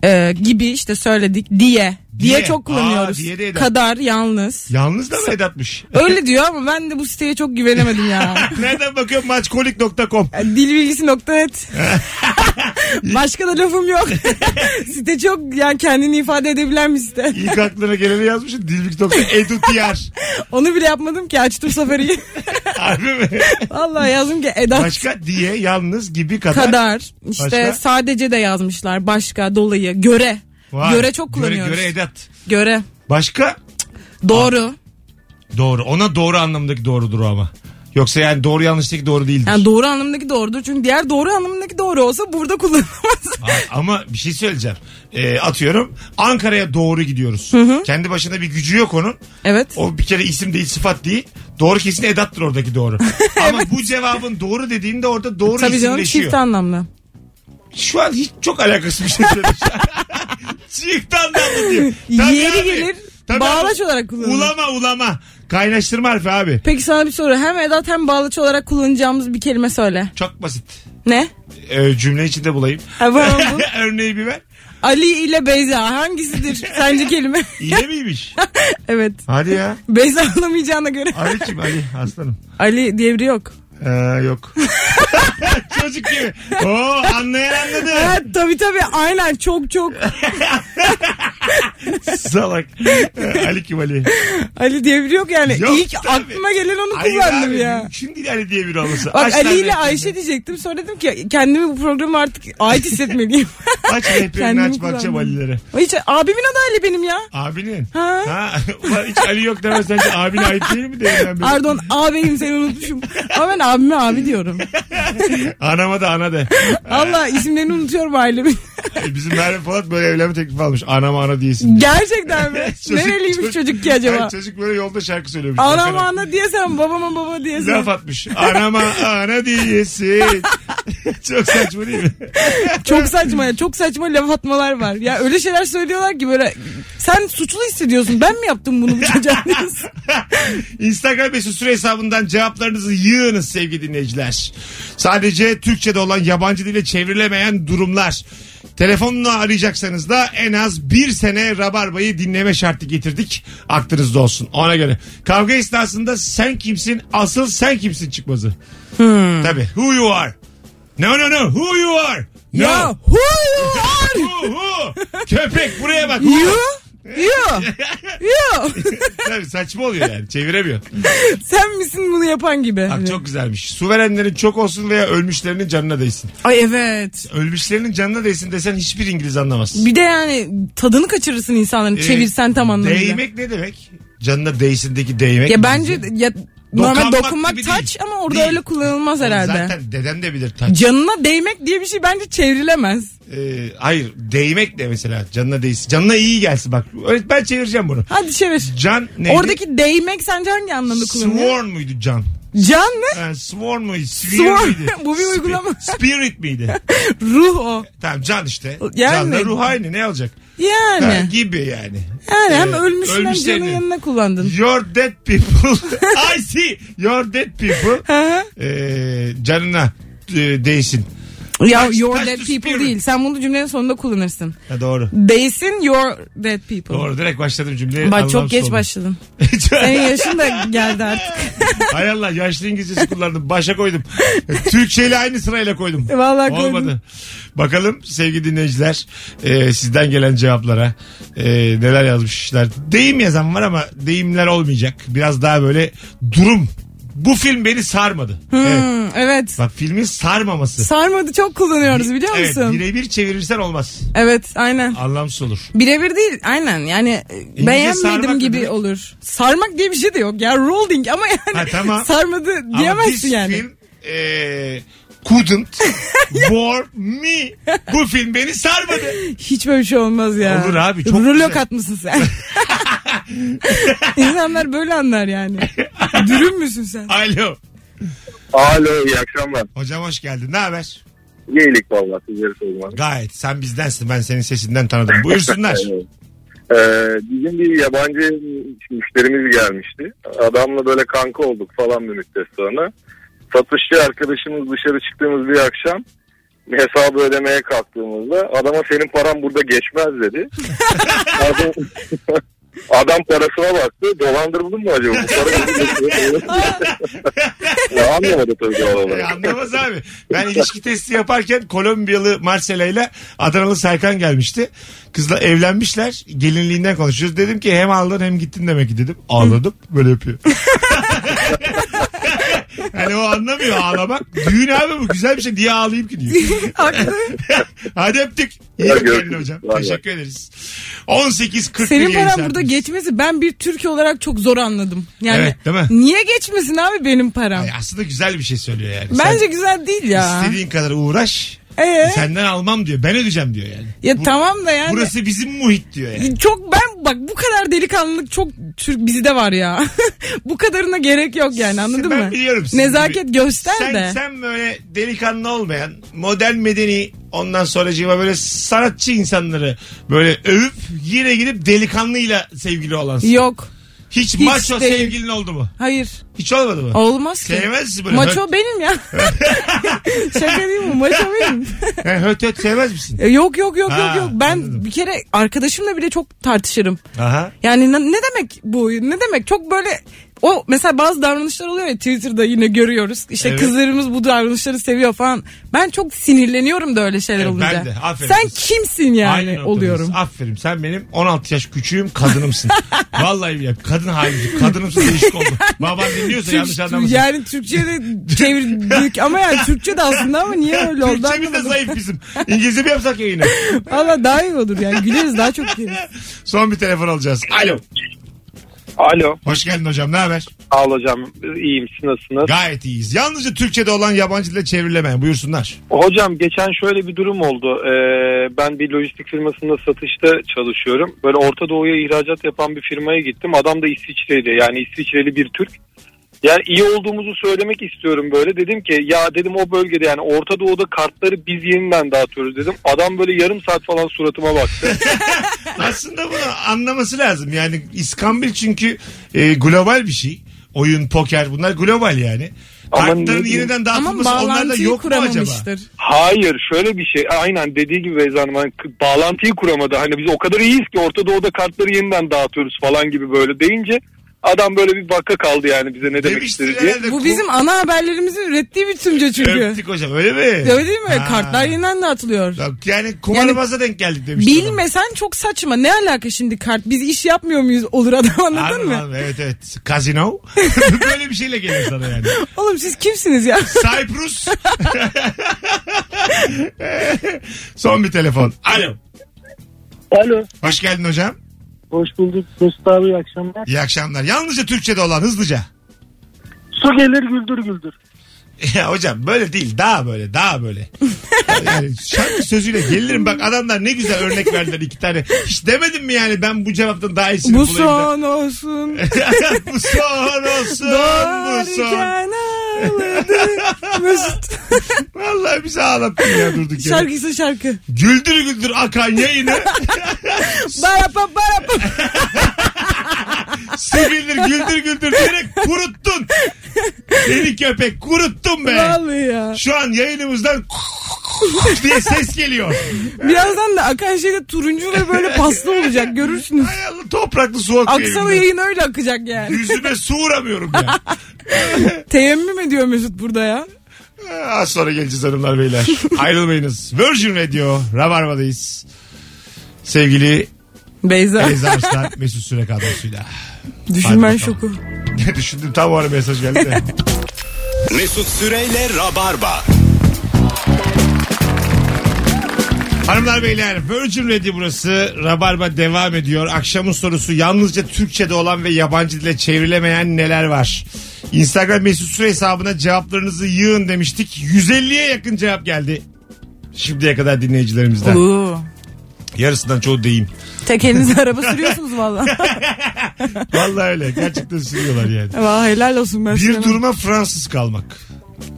Speaker 3: Ee, gibi işte söyledik diye. Diye,
Speaker 2: Diye.
Speaker 3: çok kullanıyoruz.
Speaker 2: Aa, diye de edat.
Speaker 3: Kadar, yalnız.
Speaker 2: Yalnız da mı edatmış?
Speaker 3: Öyle diyor ama ben de bu siteye çok güvenemedim ya.
Speaker 2: Nereden bakıyorum maçkolik.com.
Speaker 3: Dilbilgisi.net Başka da lafım yok. site çok yani kendini ifade edebilen bir site.
Speaker 2: İlk aklına geleni yazmışsın. Dilbilgisi.com. Edu Tiyar.
Speaker 3: Onu bile yapmadım ki açtım safariyi.
Speaker 2: Harbi mi?
Speaker 3: Vallahi yazdım ki Eda
Speaker 2: Başka diye yalnız gibi kadar.
Speaker 3: kadar. işte
Speaker 2: Başka?
Speaker 3: sadece de yazmışlar. Başka, dolayı, göre.
Speaker 2: Vay.
Speaker 3: Göre çok kullanıyoruz.
Speaker 2: Göre,
Speaker 3: Göre.
Speaker 2: göre edat. Başka?
Speaker 3: Doğru.
Speaker 2: Doğru. Ona doğru anlamındaki doğrudur o ama. Yoksa yani doğru yanlıştaki doğru değildir.
Speaker 3: Yani doğru anlamındaki doğrudur. Çünkü diğer doğru anlamındaki doğru olsa burada kullanılmaz.
Speaker 2: A- Ama bir şey söyleyeceğim. Ee, atıyorum Ankara'ya doğru gidiyoruz. Kendi başına bir gücü yok onun.
Speaker 3: evet.
Speaker 2: O bir kere isim değil sıfat değil. Doğru kesin edattır oradaki doğru. Ama bu cevabın doğru dediğinde orada doğru
Speaker 3: Tabii canım
Speaker 2: isimleşiyor.
Speaker 3: çift anlamlı.
Speaker 2: Şu an hiç çok alakası bir şey söylemiş. çift anlamlı diyor. Tabii
Speaker 3: Yeri
Speaker 2: abi.
Speaker 3: gelir
Speaker 2: Tabii
Speaker 3: bağlaç
Speaker 2: abi.
Speaker 3: olarak kullanılır.
Speaker 2: Ulama ulama. Kaynaştırma harfi abi.
Speaker 3: Peki sana bir soru. Hem edat hem bağlaç olarak kullanacağımız bir kelime söyle.
Speaker 2: Çok basit.
Speaker 3: Ne?
Speaker 2: Ee, cümle içinde bulayım.
Speaker 3: Ha, bana bu.
Speaker 2: Örneği bir ver.
Speaker 3: Ali ile Beyza hangisidir sence kelime?
Speaker 2: İyi miymiş?
Speaker 3: evet.
Speaker 2: Hadi ya.
Speaker 3: Beyza alamayacağına göre
Speaker 2: Ali kim? Ali aslanım.
Speaker 3: Ali diye biri yok.
Speaker 2: Ee, yok. Çocuk gibi. Oo anlayan anladı.
Speaker 3: Ha, tabii tabii aynen çok çok.
Speaker 2: Salak. Ee, Ali kim Ali?
Speaker 3: Ali diye biri yok yani.
Speaker 2: Yok
Speaker 3: İlk
Speaker 2: tabii.
Speaker 3: aklıma gelen onu
Speaker 2: Hayır
Speaker 3: kullandım
Speaker 2: abi,
Speaker 3: ya.
Speaker 2: Mümkün değil Ali diye biri olması.
Speaker 3: Bak
Speaker 2: Aç lan
Speaker 3: Ali ile
Speaker 2: rehberini.
Speaker 3: Ayşe diyecektim. Sonra dedim ki kendimi bu programa artık ait hissetmeliyim.
Speaker 2: Aç rehberini
Speaker 3: Kendimi
Speaker 2: aç bakacağım
Speaker 3: kullandım.
Speaker 2: Ali'lere.
Speaker 3: Hiç abimin adı Ali benim ya.
Speaker 2: Abinin.
Speaker 3: Ha?
Speaker 2: Ha. Ulan hiç Ali yok demez sence abine ait değil mi derinden beri?
Speaker 3: Pardon ağabeyim seni unutmuşum. Ama ben abime abi diyorum.
Speaker 2: Anama da ana de. E,
Speaker 3: Allah isimlerini unutuyorum ailemin.
Speaker 2: Bizim Merve Polat böyle evlenme teklifi almış. Anama ana değilsin. diye.
Speaker 3: Gerçekten mi? Nereliymiş çocuk ki acaba?
Speaker 2: Hayır, çocuk böyle yolda şarkı söylüyormuş.
Speaker 3: Anam
Speaker 2: Bakalım.
Speaker 3: ana diyesen babama baba diyesen.
Speaker 2: Laf atmış. Anama ana değilsin. Çok saçma değil mi?
Speaker 3: Çok saçma ya. Çok saçma laf atmalar var. Ya öyle şeyler söylüyorlar ki böyle sen suçlu hissediyorsun. Ben mi yaptım bunu bu çocuğa diyorsun.
Speaker 2: Instagram mesut süre hesabından cevaplarınızı yığınız sevgili dinleyiciler. Sadece Türkçe'de olan yabancı dile çevrilemeyen durumlar. Telefonla arayacaksanız da en az bir sene Rabarba'yı dinleme şartı getirdik. Aklınızda olsun ona göre. Kavga esnasında sen kimsin asıl sen kimsin çıkmazı.
Speaker 3: Hmm.
Speaker 2: Tabii who you are. No no no who you are. No.
Speaker 3: Ya who you are?
Speaker 2: Who, who? Köpek buraya bak.
Speaker 3: You? You? You?
Speaker 2: Tabii saçma oluyor yani çeviremiyor.
Speaker 3: sen misin bunu yapan gibi? Hani
Speaker 2: Bak çok güzelmiş. Suverenlerin çok olsun veya ölmüşlerinin canına değsin.
Speaker 3: Ay evet.
Speaker 2: Ölmüşlerinin canına değsin desen hiçbir İngiliz anlamaz.
Speaker 3: Bir de yani tadını kaçırırsın insanların
Speaker 2: Ee,
Speaker 3: çevirsen tam anlamıyla.
Speaker 2: Değmek ne demek? Canına değsindeki değmek.
Speaker 3: Ya bence ya normal
Speaker 2: Dokunmak
Speaker 3: dokunmak
Speaker 2: gibi
Speaker 3: taç
Speaker 2: değil.
Speaker 3: ama orada
Speaker 2: Değil.
Speaker 3: öyle kullanılmaz herhalde.
Speaker 2: Zaten deden de bilir taç.
Speaker 3: Canına değmek diye bir şey bence çevrilemez.
Speaker 2: Ee, hayır değmek de mesela canına değsin. Canına iyi gelsin bak. Öyle- Ben çevireceğim bunu.
Speaker 3: Hadi çevir.
Speaker 2: Can neydi?
Speaker 3: Oradaki değmek sence hangi anlamda kullanılıyor?
Speaker 2: Sworn muydu can?
Speaker 3: Can ne?
Speaker 2: Ha, sworn muydu? Swear
Speaker 3: Sworn.
Speaker 2: miydi?
Speaker 3: Bu bir
Speaker 2: Spi-
Speaker 3: uygulama.
Speaker 2: Spirit miydi?
Speaker 3: Ruh o.
Speaker 2: tamam can işte.
Speaker 3: Yani.
Speaker 2: Canla ruh aynı ne olacak?
Speaker 3: Yani.
Speaker 2: Ha, gibi yani.
Speaker 3: yani hem
Speaker 2: Ee,
Speaker 3: ölmüşsün hem canın
Speaker 2: ölmüşlerini-
Speaker 3: yanına kullandın.
Speaker 2: Your dead people. I see. Your dead people. Ee, canına e, değsin.
Speaker 3: Ya
Speaker 2: Touch-
Speaker 3: your
Speaker 2: touch
Speaker 3: dead
Speaker 2: the
Speaker 3: people
Speaker 2: spirit.
Speaker 3: değil. Sen bunu cümlenin sonunda kullanırsın.
Speaker 2: Ha, doğru.
Speaker 3: Değsin your dead people.
Speaker 2: Doğru direkt başladım cümleye.
Speaker 3: Bak
Speaker 2: Anlamsız
Speaker 3: çok geç
Speaker 2: oldu.
Speaker 3: başladın. Senin yaşın da geldi artık.
Speaker 2: Hay Allah yaşlı İngilizcesi kullandım. Başa koydum. Türkçeyle aynı sırayla koydum.
Speaker 3: E, Vallahi koydum.
Speaker 2: Olmadı. Bakalım sevgili dinleyiciler e, sizden gelen cevaplara e, neler yazmışlar. Deyim yazan var ama deyimler olmayacak. Biraz daha böyle durum bu film beni sarmadı. Evet.
Speaker 3: Hmm, evet.
Speaker 2: Bak filmin sarmaması.
Speaker 3: Sarmadı çok kullanıyoruz biliyor
Speaker 2: evet,
Speaker 3: musun? Evet,
Speaker 2: birebir çevirirsen olmaz.
Speaker 3: aynen.
Speaker 2: Anlamsız olur.
Speaker 3: Birebir değil aynen yani e,
Speaker 2: sarmak
Speaker 3: beğenmedim
Speaker 2: ne
Speaker 3: gibi
Speaker 2: demek?
Speaker 3: olur. Sarmak diye bir şey de yok ya rolling ama yani
Speaker 2: Ha, tamam.
Speaker 3: sarmadı
Speaker 2: Ama
Speaker 3: diyemezsin
Speaker 2: this
Speaker 3: yani.
Speaker 2: film e, couldn't war me. Bu film beni sarmadı.
Speaker 3: Hiç böyle bir şey olmaz ya.
Speaker 2: Olur abi, çok
Speaker 3: Rulo
Speaker 2: güzel.
Speaker 3: katmışsın sen. İnsanlar böyle anlar yani. Dürüm müsün sen?
Speaker 2: Alo.
Speaker 9: Alo iyi akşamlar.
Speaker 2: Hocam hoş geldin. Ne haber?
Speaker 9: İyilik valla sizleri sormak.
Speaker 2: Gayet. Sen bizdensin. Ben senin sesinden tanıdım. Buyursunlar.
Speaker 9: Ee, bizim bir yabancı müşterimiz gelmişti. Adamla böyle kanka olduk falan bir müddet sonra. Satışçı arkadaşımız dışarı çıktığımız bir akşam hesabı ödemeye kalktığımızda adama senin paran burada geçmez dedi. adam, adam parasına baktı. Dolandırıldım mı acaba? Bu para burada geçmez. ya anlamadı tabii doğal
Speaker 2: E,
Speaker 9: olarak.
Speaker 2: Anlamaz abi. Ben ilişki testi yaparken Kolombiyalı Marcela ile Adanalı Serkan gelmişti. Kızla evlenmişler. Gelinliğinden konuşuyoruz. Dedim ki hem aldın hem gittin demek ki dedim. Ağladım. Böyle yapıyor. Hani o anlamıyor ağlamak. Düğün abi bu güzel bir şey. Niye ağlayayım ki diyor.
Speaker 3: Haklı.
Speaker 2: Hadi öptük. İyi
Speaker 9: Ya
Speaker 2: bak kendine
Speaker 9: görüşürüz.
Speaker 2: hocam.
Speaker 9: Vay vay.
Speaker 2: Teşekkür ederiz. 18.41
Speaker 3: Senin
Speaker 2: yayın
Speaker 3: paran
Speaker 2: saatimiz.
Speaker 3: burada geçmesi ben bir Türk olarak çok zor anladım. Yani Hmm.
Speaker 2: Evet, değil mi?
Speaker 3: niye geçmesin abi benim param?
Speaker 2: Ay, Aslında güzel bir şey söylüyor yani.
Speaker 3: Bence
Speaker 2: Sen
Speaker 3: güzel değil ya.
Speaker 2: istediğin kadar uğraş.
Speaker 3: Ee?
Speaker 2: Senden almam diyor. Ben ödeyeceğim diyor yani.
Speaker 3: Ya
Speaker 2: Bu-
Speaker 3: tamam da yani.
Speaker 2: Burası bizim muhit diyor yani.
Speaker 3: Çok ben bak bu kadar delikanlılık çok Türk bizde var ya. bu kadarına gerek yok yani anladın
Speaker 2: ben
Speaker 3: mı?
Speaker 2: biliyorum sizin
Speaker 3: Nezaket
Speaker 2: gibi.
Speaker 3: göster
Speaker 2: sen,
Speaker 3: de.
Speaker 2: Sen böyle delikanlı olmayan, modern medeni ondan sonracığıma böyle sanatçı insanları böyle övüp yine gidip delikanlıyla sevgili olansın.
Speaker 3: Yok.
Speaker 2: Hiç,
Speaker 3: hiç
Speaker 2: maço
Speaker 3: değil.
Speaker 2: sevgilin oldu mu?
Speaker 3: Hayır.
Speaker 2: Hiç olmadı mı?
Speaker 3: Olmaz ki.
Speaker 2: Sevmezsin böyle.
Speaker 3: Maço benim ya. Şaka değil mi? Maço benim.
Speaker 2: He, höt höt sevmez misin?
Speaker 3: E, yok yok yok
Speaker 2: Ha,
Speaker 3: yok yok. Ben
Speaker 2: anladım.
Speaker 3: bir kere arkadaşımla bile çok tartışırım.
Speaker 2: Aha.
Speaker 3: Yani ne, ne demek bu? Ne demek? Çok böyle o mesela bazı davranışlar oluyor ya Twitter'da yine görüyoruz. İşte
Speaker 2: Evet.
Speaker 3: kızlarımız bu davranışları seviyor falan. Ben çok sinirleniyorum da öyle şeyler
Speaker 2: Evet, ben
Speaker 3: olunca.
Speaker 2: de. Aferin
Speaker 3: Sen
Speaker 2: kız.
Speaker 3: kimsin yani
Speaker 2: Aynen ortadayız.
Speaker 3: oluyorum.
Speaker 2: Aferin sen benim 16 yaş küçüğüm kadınımsın. Vallahi billahi kadın halinde kadınımsın değişik oldu. Baban dinliyorsa yanlış
Speaker 3: Türk-
Speaker 2: anlamasın.
Speaker 3: yani Türkçe'ye de çevirdik ama yani Türkçe de aslında ama niye öyle oldu
Speaker 2: Türkçemiz de
Speaker 3: anlamadım.
Speaker 2: zayıf bizim. İngilizce mi yapsak yayını?
Speaker 3: Valla daha iyi olur yani güleriz daha çok güleriz.
Speaker 2: Son bir telefon alacağız. Alo.
Speaker 8: Alo.
Speaker 2: Hoş geldin hocam ne haber?
Speaker 8: Al hocam iyiyim siz nasılsınız?
Speaker 2: Gayet iyiyiz. Yalnızca Türkçe'de olan yabancı dile çevrilemeyen buyursunlar.
Speaker 8: Hocam geçen şöyle bir durum oldu. Ee, ben bir lojistik firmasında satışta çalışıyorum. Böyle Orta Doğu'ya ihracat yapan bir firmaya gittim. Adam da İsviçreli yani İsviçreli bir Türk. Yani iyi olduğumuzu söylemek istiyorum böyle. Dedim ki ya dedim o bölgede yani Orta Doğu'da kartları biz yeniden dağıtıyoruz dedim. Adam böyle yarım saat falan suratıma baktı.
Speaker 2: Aslında bunu anlaması lazım. Yani İskambil çünkü e, global bir şey. Oyun, poker bunlar global yani.
Speaker 8: Ama
Speaker 2: Kartların
Speaker 8: ne-
Speaker 2: yeniden
Speaker 3: Ama
Speaker 2: dağıtılması onlarda
Speaker 3: bağlantıyı
Speaker 2: yok mu acaba?
Speaker 3: kuramamıştır.
Speaker 8: Hayır şöyle bir şey aynen dediği gibi Beyza Hanım hani k- bağlantıyı kuramadı. Hani biz o kadar iyiyiz ki Orta Doğu'da kartları yeniden dağıtıyoruz falan gibi böyle deyince adam böyle bir vaka kaldı yani bize ne demek
Speaker 2: Demiştir
Speaker 8: istedi diye.
Speaker 2: herhalde.
Speaker 3: Bu bizim ana haberlerimizin ürettiği bir tümce çünkü.
Speaker 2: E, Öptük hocam öyle mi?
Speaker 3: Öyle değil mi?
Speaker 2: Ha.
Speaker 3: Kartlar yeniden dağıtılıyor.
Speaker 2: Bak, Yani kumarımıza denk geldik demiştim.
Speaker 3: Bilmesen çok saçma. Ne alaka şimdi kart? Biz iş yapmıyor muyuz? Olur adam anladın mı?
Speaker 2: evet evet. Kazino. Böyle bir şeyle gelir sana yani.
Speaker 3: Oğlum siz kimsiniz ya?
Speaker 2: Cyprus. Son bir telefon. Alo.
Speaker 9: Alo.
Speaker 2: Hoş geldin hocam.
Speaker 9: Hoş bulduk. Mesut abi iyi akşamlar.
Speaker 2: İyi akşamlar. Yalnızca Türkçe'de olan hızlıca.
Speaker 9: Su gelir güldür güldür.
Speaker 2: Ya hocam böyle değil daha böyle daha böyle. Yani şarkı sözüyle gelirim bak adamlar ne güzel örnek verdiler iki tane. Hiç demedim mi yani ben bu cevaptan daha iyisini
Speaker 3: bu
Speaker 2: bulayım da.
Speaker 3: son olsun.
Speaker 2: bu son olsun bu son.
Speaker 3: Doğarken ağladı. Mesut.
Speaker 2: Vallahi bizi ağlattın ya durduk yere.
Speaker 3: Şarkıysa şarkı.
Speaker 2: Güldür güldür akan yayını
Speaker 3: Barapa barapa.
Speaker 2: sevindir güldür güldür diyerek kuruttun. Deli köpek kuruttun be.
Speaker 3: Vallahi ya.
Speaker 2: Şu an yayınımızdan diye ses geliyor.
Speaker 3: Birazdan da akan şeyde turuncu ve böyle paslı olacak. Görürsünüz.
Speaker 2: Hay Allah topraklı su akıyor.
Speaker 3: Aksan
Speaker 2: elimden.
Speaker 3: yayın öyle akacak yani.
Speaker 2: Yüzüme su uğramıyorum ya.
Speaker 3: Teyemmüm ediyor Mesut burada ya.
Speaker 2: Az sonra geleceğiz hanımlar beyler. Ayrılmayınız. Virgin Radio Rabarba'dayız. Sevgili
Speaker 3: Beyza.
Speaker 2: Beyza Arslan Mesut Süre kadrosuyla.
Speaker 3: Düşünmen
Speaker 2: Hadi bakalım.
Speaker 3: şoku.
Speaker 2: Düşündüm tam o ara mesaj geldi de.
Speaker 1: Mesut Süreyle Rabarba.
Speaker 2: Hanımlar beyler Virgin Radio burası. Rabarba devam ediyor. Akşamın sorusu yalnızca Türkçe'de olan ve yabancı dile çevrilemeyen neler var? Instagram mesut süre hesabına cevaplarınızı yığın demiştik. 150'ye yakın cevap geldi. Şimdiye kadar dinleyicilerimizden.
Speaker 3: Oo.
Speaker 2: Yarısından çoğu deyim.
Speaker 3: Tek elinizle araba sürüyorsunuz valla.
Speaker 2: Vallahi öyle. Gerçekten sürüyorlar yani.
Speaker 3: Valla helal olsun ben
Speaker 2: Bir
Speaker 3: size.
Speaker 2: duruma Fransız kalmak.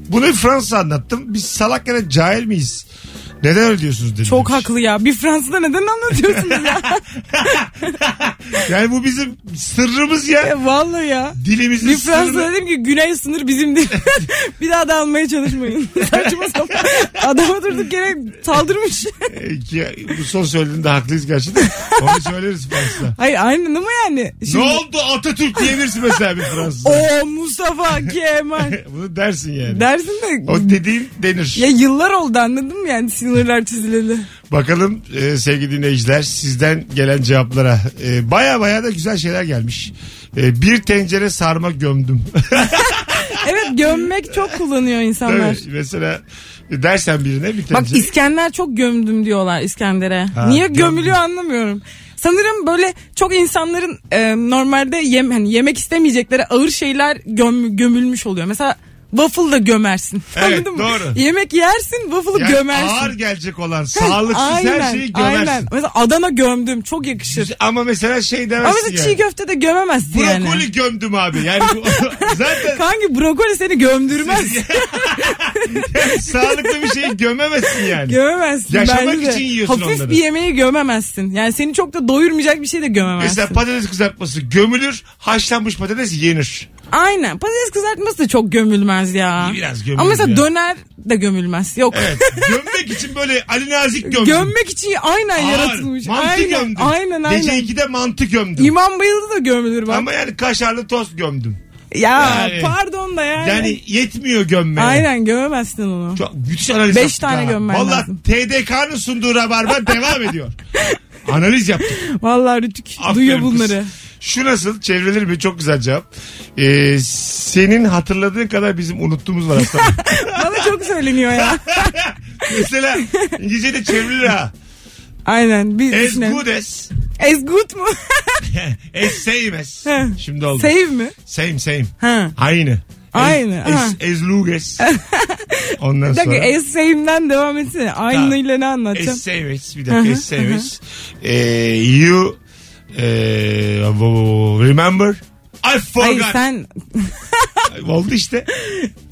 Speaker 2: Bunu Fransa anlattım. Biz salak yani cahil miyiz? Neden öyle diyorsunuz dedim.
Speaker 3: Çok haklı ya. Bir Fransa'da neden anlatıyorsunuz ya?
Speaker 2: Yani bu bizim sırrımız ya.
Speaker 3: ya valla ya.
Speaker 2: Dilimizin
Speaker 3: Bir
Speaker 2: sırrı.
Speaker 3: Fransa dedim ki güney sınır bizim değil. bir daha da almaya çalışmayın. Saçma sapan. Adama durduk yere saldırmış.
Speaker 2: E, ki bu son söylediğinde haklıyız gerçekten. Onu söyleriz Fransa.
Speaker 3: Hayır aynen ama yani.
Speaker 2: Ne
Speaker 3: Şimdi,
Speaker 2: oldu Atatürk diyebilirsin mesela bir Fransız.
Speaker 3: o Mustafa Kemal.
Speaker 2: Bunu dersin yani.
Speaker 3: Dersin de.
Speaker 2: o dediğin denir.
Speaker 3: Ya yıllar oldu anladın mı yani sınırlar çizileli.
Speaker 2: Bakalım e, sevgili dinleyiciler sizden gelen cevaplara. E, baya baya da güzel şeyler gelmiş. E, bir tencere sarma gömdüm.
Speaker 3: Evet gömmek çok kullanıyor insanlar.
Speaker 2: Tabii, mesela dersen birine bir
Speaker 3: Bak
Speaker 2: tencere.
Speaker 3: İskender çok gömdüm diyorlar İskender'e.
Speaker 2: Ha,
Speaker 3: Niye
Speaker 2: gömdüm.
Speaker 3: gömülüyor anlamıyorum. Sanırım böyle çok insanların e, normalde yem, hani yemek istemeyecekleri ağır şeyler göm, gömülmüş oluyor. Mesela waffle da gömersin.
Speaker 2: Evet,
Speaker 3: Anladın mı?
Speaker 2: doğru.
Speaker 3: Yemek yersin waffle'ı
Speaker 2: Yani
Speaker 3: gömersin.
Speaker 2: ağır gelecek olan sağlıksız her şeyi gömersin.
Speaker 3: Aynen. Mesela Adana gömdüm çok yakışır.
Speaker 2: Ama mesela şey demezsin
Speaker 3: Ama mesela
Speaker 2: yani.
Speaker 3: çiğ köfte de gömemezsin yani. E,
Speaker 2: Brokoli gömdüm abi. Yani bu- zaten
Speaker 3: Kanki brokoli seni gömdürmez.
Speaker 2: sağlıklı bir şeyi gömemezsin yani.
Speaker 3: Gömemezsin.
Speaker 2: Yaşamak
Speaker 3: bence de.
Speaker 2: için yiyorsun
Speaker 3: Hafif
Speaker 2: onları.
Speaker 3: bir yemeği gömemezsin. Yani seni çok da doyurmayacak bir şey de gömemezsin.
Speaker 2: Mesela patates kızartması gömülür, haşlanmış patates yenir.
Speaker 3: Aynen. Patates kızartması da çok gömülmez ya.
Speaker 2: Biraz gömülür
Speaker 3: Ama mesela
Speaker 2: ya.
Speaker 3: döner de gömülmez. Yok.
Speaker 2: Evet. Gömmek için böyle Ali Nazik gömdüm.
Speaker 3: Gömmek için aynen
Speaker 2: Ağır.
Speaker 3: yaratılmış.
Speaker 2: Mantı
Speaker 3: aynen.
Speaker 2: gömdüm.
Speaker 3: Aynen aynen.
Speaker 2: Gece 2'de mantı gömdüm.
Speaker 3: İmam Bayıldı da gömülür bak.
Speaker 2: Ama yani kaşarlı tost gömdüm.
Speaker 3: ya
Speaker 2: Yani-
Speaker 3: pardon da yani.
Speaker 2: Yani yetmiyor gömme.
Speaker 3: aynen gömemezsin onu.
Speaker 2: Çok müthiş analiz
Speaker 3: Beş
Speaker 2: yaptık
Speaker 3: tane
Speaker 2: ha.
Speaker 3: gömmen
Speaker 2: Valla
Speaker 3: lazım.
Speaker 2: TDK'nın sunduğu rabarba devam ediyor. Analiz yaptık.
Speaker 3: Vallahi Rütük
Speaker 2: Aferin
Speaker 3: duyuyor
Speaker 2: kız.
Speaker 3: bunları.
Speaker 2: Şu nasıl? Çevrilir mi? Çok güzel cevap. Ee, senin hatırladığın kadar bizim unuttuğumuz var aslında.
Speaker 3: Bana çok söyleniyor ya.
Speaker 2: Mesela İngilizce'de çevrilir ha.
Speaker 3: Aynen. Bir
Speaker 2: As
Speaker 3: düşünelim.
Speaker 2: good as.
Speaker 3: As good mu?
Speaker 2: as same as.
Speaker 3: Heh.
Speaker 2: Şimdi oldu.
Speaker 3: Save mi?
Speaker 2: Same same.
Speaker 3: Ha.
Speaker 2: Aynı.
Speaker 3: Aynı,
Speaker 2: As,
Speaker 3: ha.
Speaker 2: as, as long as. Ondan
Speaker 3: Bir dakika
Speaker 2: sonra.
Speaker 3: es save'den devam etsene. Aynıyla ne anlatacağım?
Speaker 2: As same as. Bir dakika as same as. Ee, you ee, bu- remember I
Speaker 3: Hayır
Speaker 2: forgot.
Speaker 3: sen
Speaker 2: Oldu işte.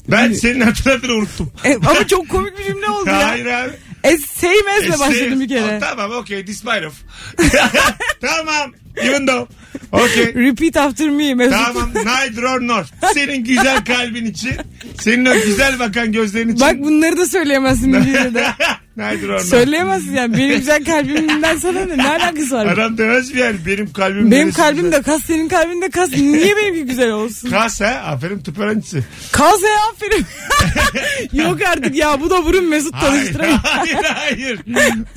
Speaker 2: Ben senin hatırladığını unuttum.
Speaker 3: E, ama çok komik bir cümle oldu ya.
Speaker 2: Hayır abi.
Speaker 3: Es same as'le E, şey başladım bir
Speaker 2: Oh,
Speaker 3: kere.
Speaker 2: tamam okey despite of. tamam even though. Okey.
Speaker 3: Repeat after me Mesut.
Speaker 2: Tamam neither or nor. Senin güzel kalbin için. Senin o güzel bakan gözlerin için.
Speaker 3: Bak bunları da söyleyemezsin İngilizce'de.
Speaker 2: neither or nor.
Speaker 3: söyleyemezsin yani. Benim güzel kalbimden sana ne? Ne alakası var?
Speaker 2: Adam demez mi yani benim kalbim
Speaker 3: Benim
Speaker 2: neresi
Speaker 3: kalbim
Speaker 2: güzel?
Speaker 3: de kas, senin kalbin de kas. Niye benimki güzel olsun?
Speaker 2: Kas ha aferin tıp öğrencisi.
Speaker 3: Kas ya aferin. Yok artık ya bu da vurun Mesut
Speaker 2: Hayır
Speaker 3: tanıştırayım.
Speaker 2: hayır hayır.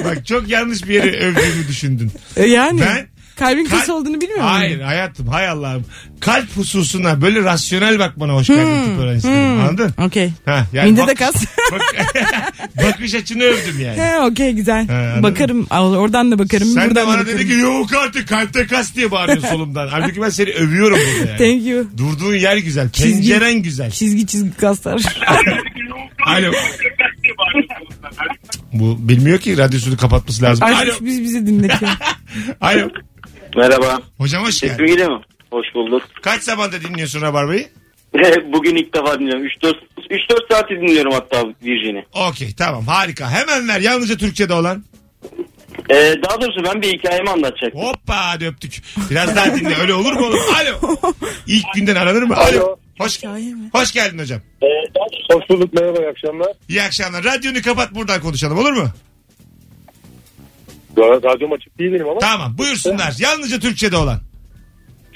Speaker 2: Bak çok yanlış bir yere övdüğümü düşündün.
Speaker 3: E yani.
Speaker 2: Ben-
Speaker 3: Kalbin kas
Speaker 2: Kalp-
Speaker 3: olduğunu bilmiyor musun?
Speaker 2: Hayır hayatım hay Allah'ım. Kalp hususuna böyle rasyonel bakmana hoş geldin tıp öğrencisi. Anladın?
Speaker 3: Okey.
Speaker 2: Ha,
Speaker 3: Minde
Speaker 2: bak-
Speaker 3: Hmm, de kas.
Speaker 2: bak- bakış açını övdüm yani.
Speaker 3: He okey güzel.
Speaker 2: anladım.
Speaker 3: bakarım. Al, Oradan da bakarım.
Speaker 2: Sen de
Speaker 3: buradan da
Speaker 2: bana
Speaker 3: bakarım.
Speaker 2: dedi ki yok artık kalpte kas diye bağırıyorsun solumdan. Halbuki ben seni övüyorum burada yani.
Speaker 3: Thank you.
Speaker 2: Durduğun yer güzel.
Speaker 3: Çizgi.
Speaker 2: Penceren güzel.
Speaker 3: Çizgi çizgi kaslar.
Speaker 2: Alo. Bu bilmiyor ki radyosunu kapatması lazım. Alo.
Speaker 3: Artık biz bizi dinletiyor.
Speaker 2: Alo.
Speaker 7: Merhaba.
Speaker 2: Hocam hoş geldin.
Speaker 7: Sevgili mi? Hoş bulduk.
Speaker 2: Kaç zamanda dinliyorsun Rabarba'yı?
Speaker 7: Bugün ilk defa dinliyorum. 3-4, 3-4 saati dinliyorum hatta Virgin'i.
Speaker 2: Okey tamam harika. Hemen ver yalnızca Türkçe'de olan.
Speaker 7: Ee, daha doğrusu ben bir hikayemi anlatacaktım.
Speaker 2: Hoppa hadi öptük. Biraz daha dinle öyle olur mu oğlum? Alo. İlk günden aranır mı? Alo.
Speaker 9: Alo.
Speaker 2: Hoş,
Speaker 3: Hikaye mi?
Speaker 2: hoş geldin hocam.
Speaker 9: Ee, Hoş bulduk merhaba iyi akşamlar.
Speaker 2: İyi akşamlar. Radyonu kapat buradan konuşalım olur mu?
Speaker 9: Radyom açık değil benim ama.
Speaker 2: Tamam buyursunlar. Yalnızca Türkçe'de olan.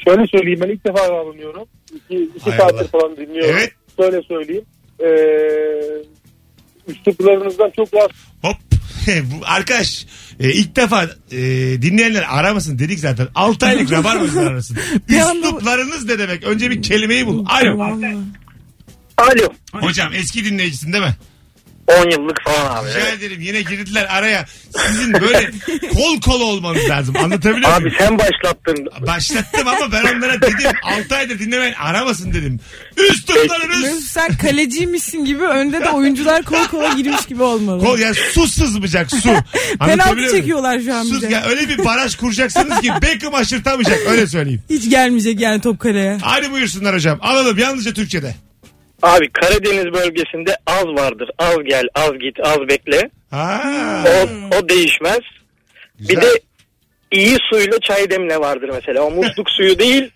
Speaker 9: Şöyle söyleyeyim ben ilk defa bağlanıyorum. İki, iki
Speaker 2: Hay
Speaker 9: saattir
Speaker 2: Allah.
Speaker 9: falan dinliyorum.
Speaker 2: Evet.
Speaker 9: Şöyle söyleyeyim. Ee, üsluplarınızdan çok rahatsız
Speaker 2: Hop. Bu- Arkadaş e, ilk defa e, dinleyenler aramasın dedik zaten. 6 aylık rabarbacılar arasın.
Speaker 3: Bir anda-
Speaker 2: Üsluplarınız ne demek? Önce bir kelimeyi bul. Alo.
Speaker 7: Alo.
Speaker 2: Hocam eski dinleyicisin değil mi?
Speaker 7: 10 yıllık falan abi.
Speaker 2: Rica ederim yine girdiler araya. Sizin böyle kol kola olmanız lazım. Anlatabiliyor
Speaker 7: Abi
Speaker 2: muyum?
Speaker 7: sen başlattın.
Speaker 2: Başlattım ama ben onlara dedim 6 aydır dinlemeyin aramasın dedim. Üsluplarınız
Speaker 3: Sen kaleciymişsin gibi önde de oyuncular kol kola girmiş gibi olmalı.
Speaker 2: Kol ya su sızmayacak su. Anlatabiliyor
Speaker 3: Penaltı
Speaker 2: muyum?
Speaker 3: çekiyorlar şu an
Speaker 2: Sus
Speaker 3: bize.
Speaker 2: ya öyle bir baraj kuracaksınız ki Beckham aşırtamayacak öyle söyleyeyim.
Speaker 3: Hiç gelmeyecek yani top kaleye.
Speaker 2: Hadi buyursunlar hocam. Alalım yalnızca Türkçe'de.
Speaker 7: Abi Karadeniz bölgesinde az vardır. Az gel, az git, az bekle.
Speaker 2: Ha,
Speaker 7: O, o değişmez.
Speaker 2: güzel.
Speaker 7: Bir de iyi suyla çay demle vardır mesela. O musluk suyu değil,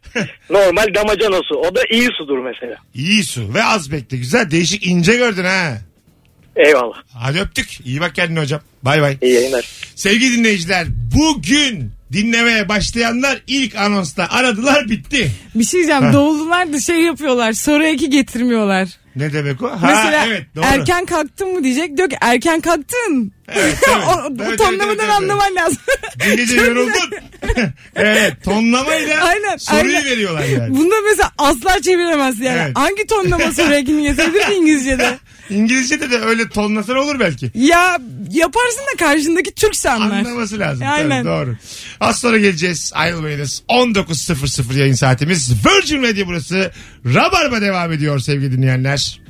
Speaker 7: normal damacana su. O da iyi sudur mesela.
Speaker 2: İyi su ve az bekle. Güzel değişik ince gördün ha.
Speaker 7: Eyvallah.
Speaker 2: Hadi öptük. İyi bak kendine hocam. Bay bay.
Speaker 7: İyi yayınlar.
Speaker 2: Sevgili dinleyiciler bugün dinlemeye başlayanlar ilk anonsta aradılar bitti.
Speaker 3: Bir şey
Speaker 2: Ha.
Speaker 3: diyeceğim. Doğulular da şey yapıyorlar. Soru eki getirmiyorlar.
Speaker 2: Ne demek o? Ha,
Speaker 3: Mesela
Speaker 2: evet, doğru.
Speaker 3: erken kalktın mı diyecek. Diyor ki erken kalktın.
Speaker 2: Evet,
Speaker 3: o,
Speaker 2: evet.
Speaker 3: o
Speaker 2: Evet,
Speaker 3: tonlamadan
Speaker 2: evet, evet, evet.
Speaker 3: anlaman lazım.
Speaker 2: Gece
Speaker 3: Çok
Speaker 2: yoruldun. evet tonlamayla
Speaker 3: Aynen,
Speaker 2: soruyu
Speaker 3: aynen.
Speaker 2: veriyorlar yani.
Speaker 3: Bunda mesela asla çeviremez yani.
Speaker 2: Evet.
Speaker 3: Hangi tonlama soru ekini getirebilir ki İngilizce'de?
Speaker 2: İngilizce'de de öyle tonlasan olur belki.
Speaker 3: Ya yaparsın da karşındaki Türk sanlar.
Speaker 2: Anlaması lazım. Aynen.
Speaker 3: Aynen.
Speaker 2: doğru. Az sonra geleceğiz. Ayrılmayınız. 19.00 yayın saatimiz. Virgin Radio burası. Rabarba devam ediyor sevgili dinleyenler.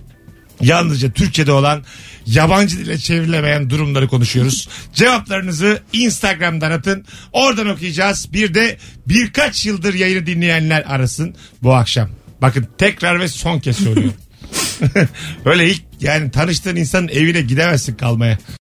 Speaker 2: Yalnızca Türkçe'de olan yabancı dile çevrilemeyen durumları konuşuyoruz. Cevaplarınızı Instagram'dan atın. Oradan okuyacağız. Bir de birkaç yıldır yayını dinleyenler arasın bu akşam. Bakın tekrar ve son kez söylüyorum. Öyle ilk yani tanıştığın insanın evine gidemezsin kalmaya.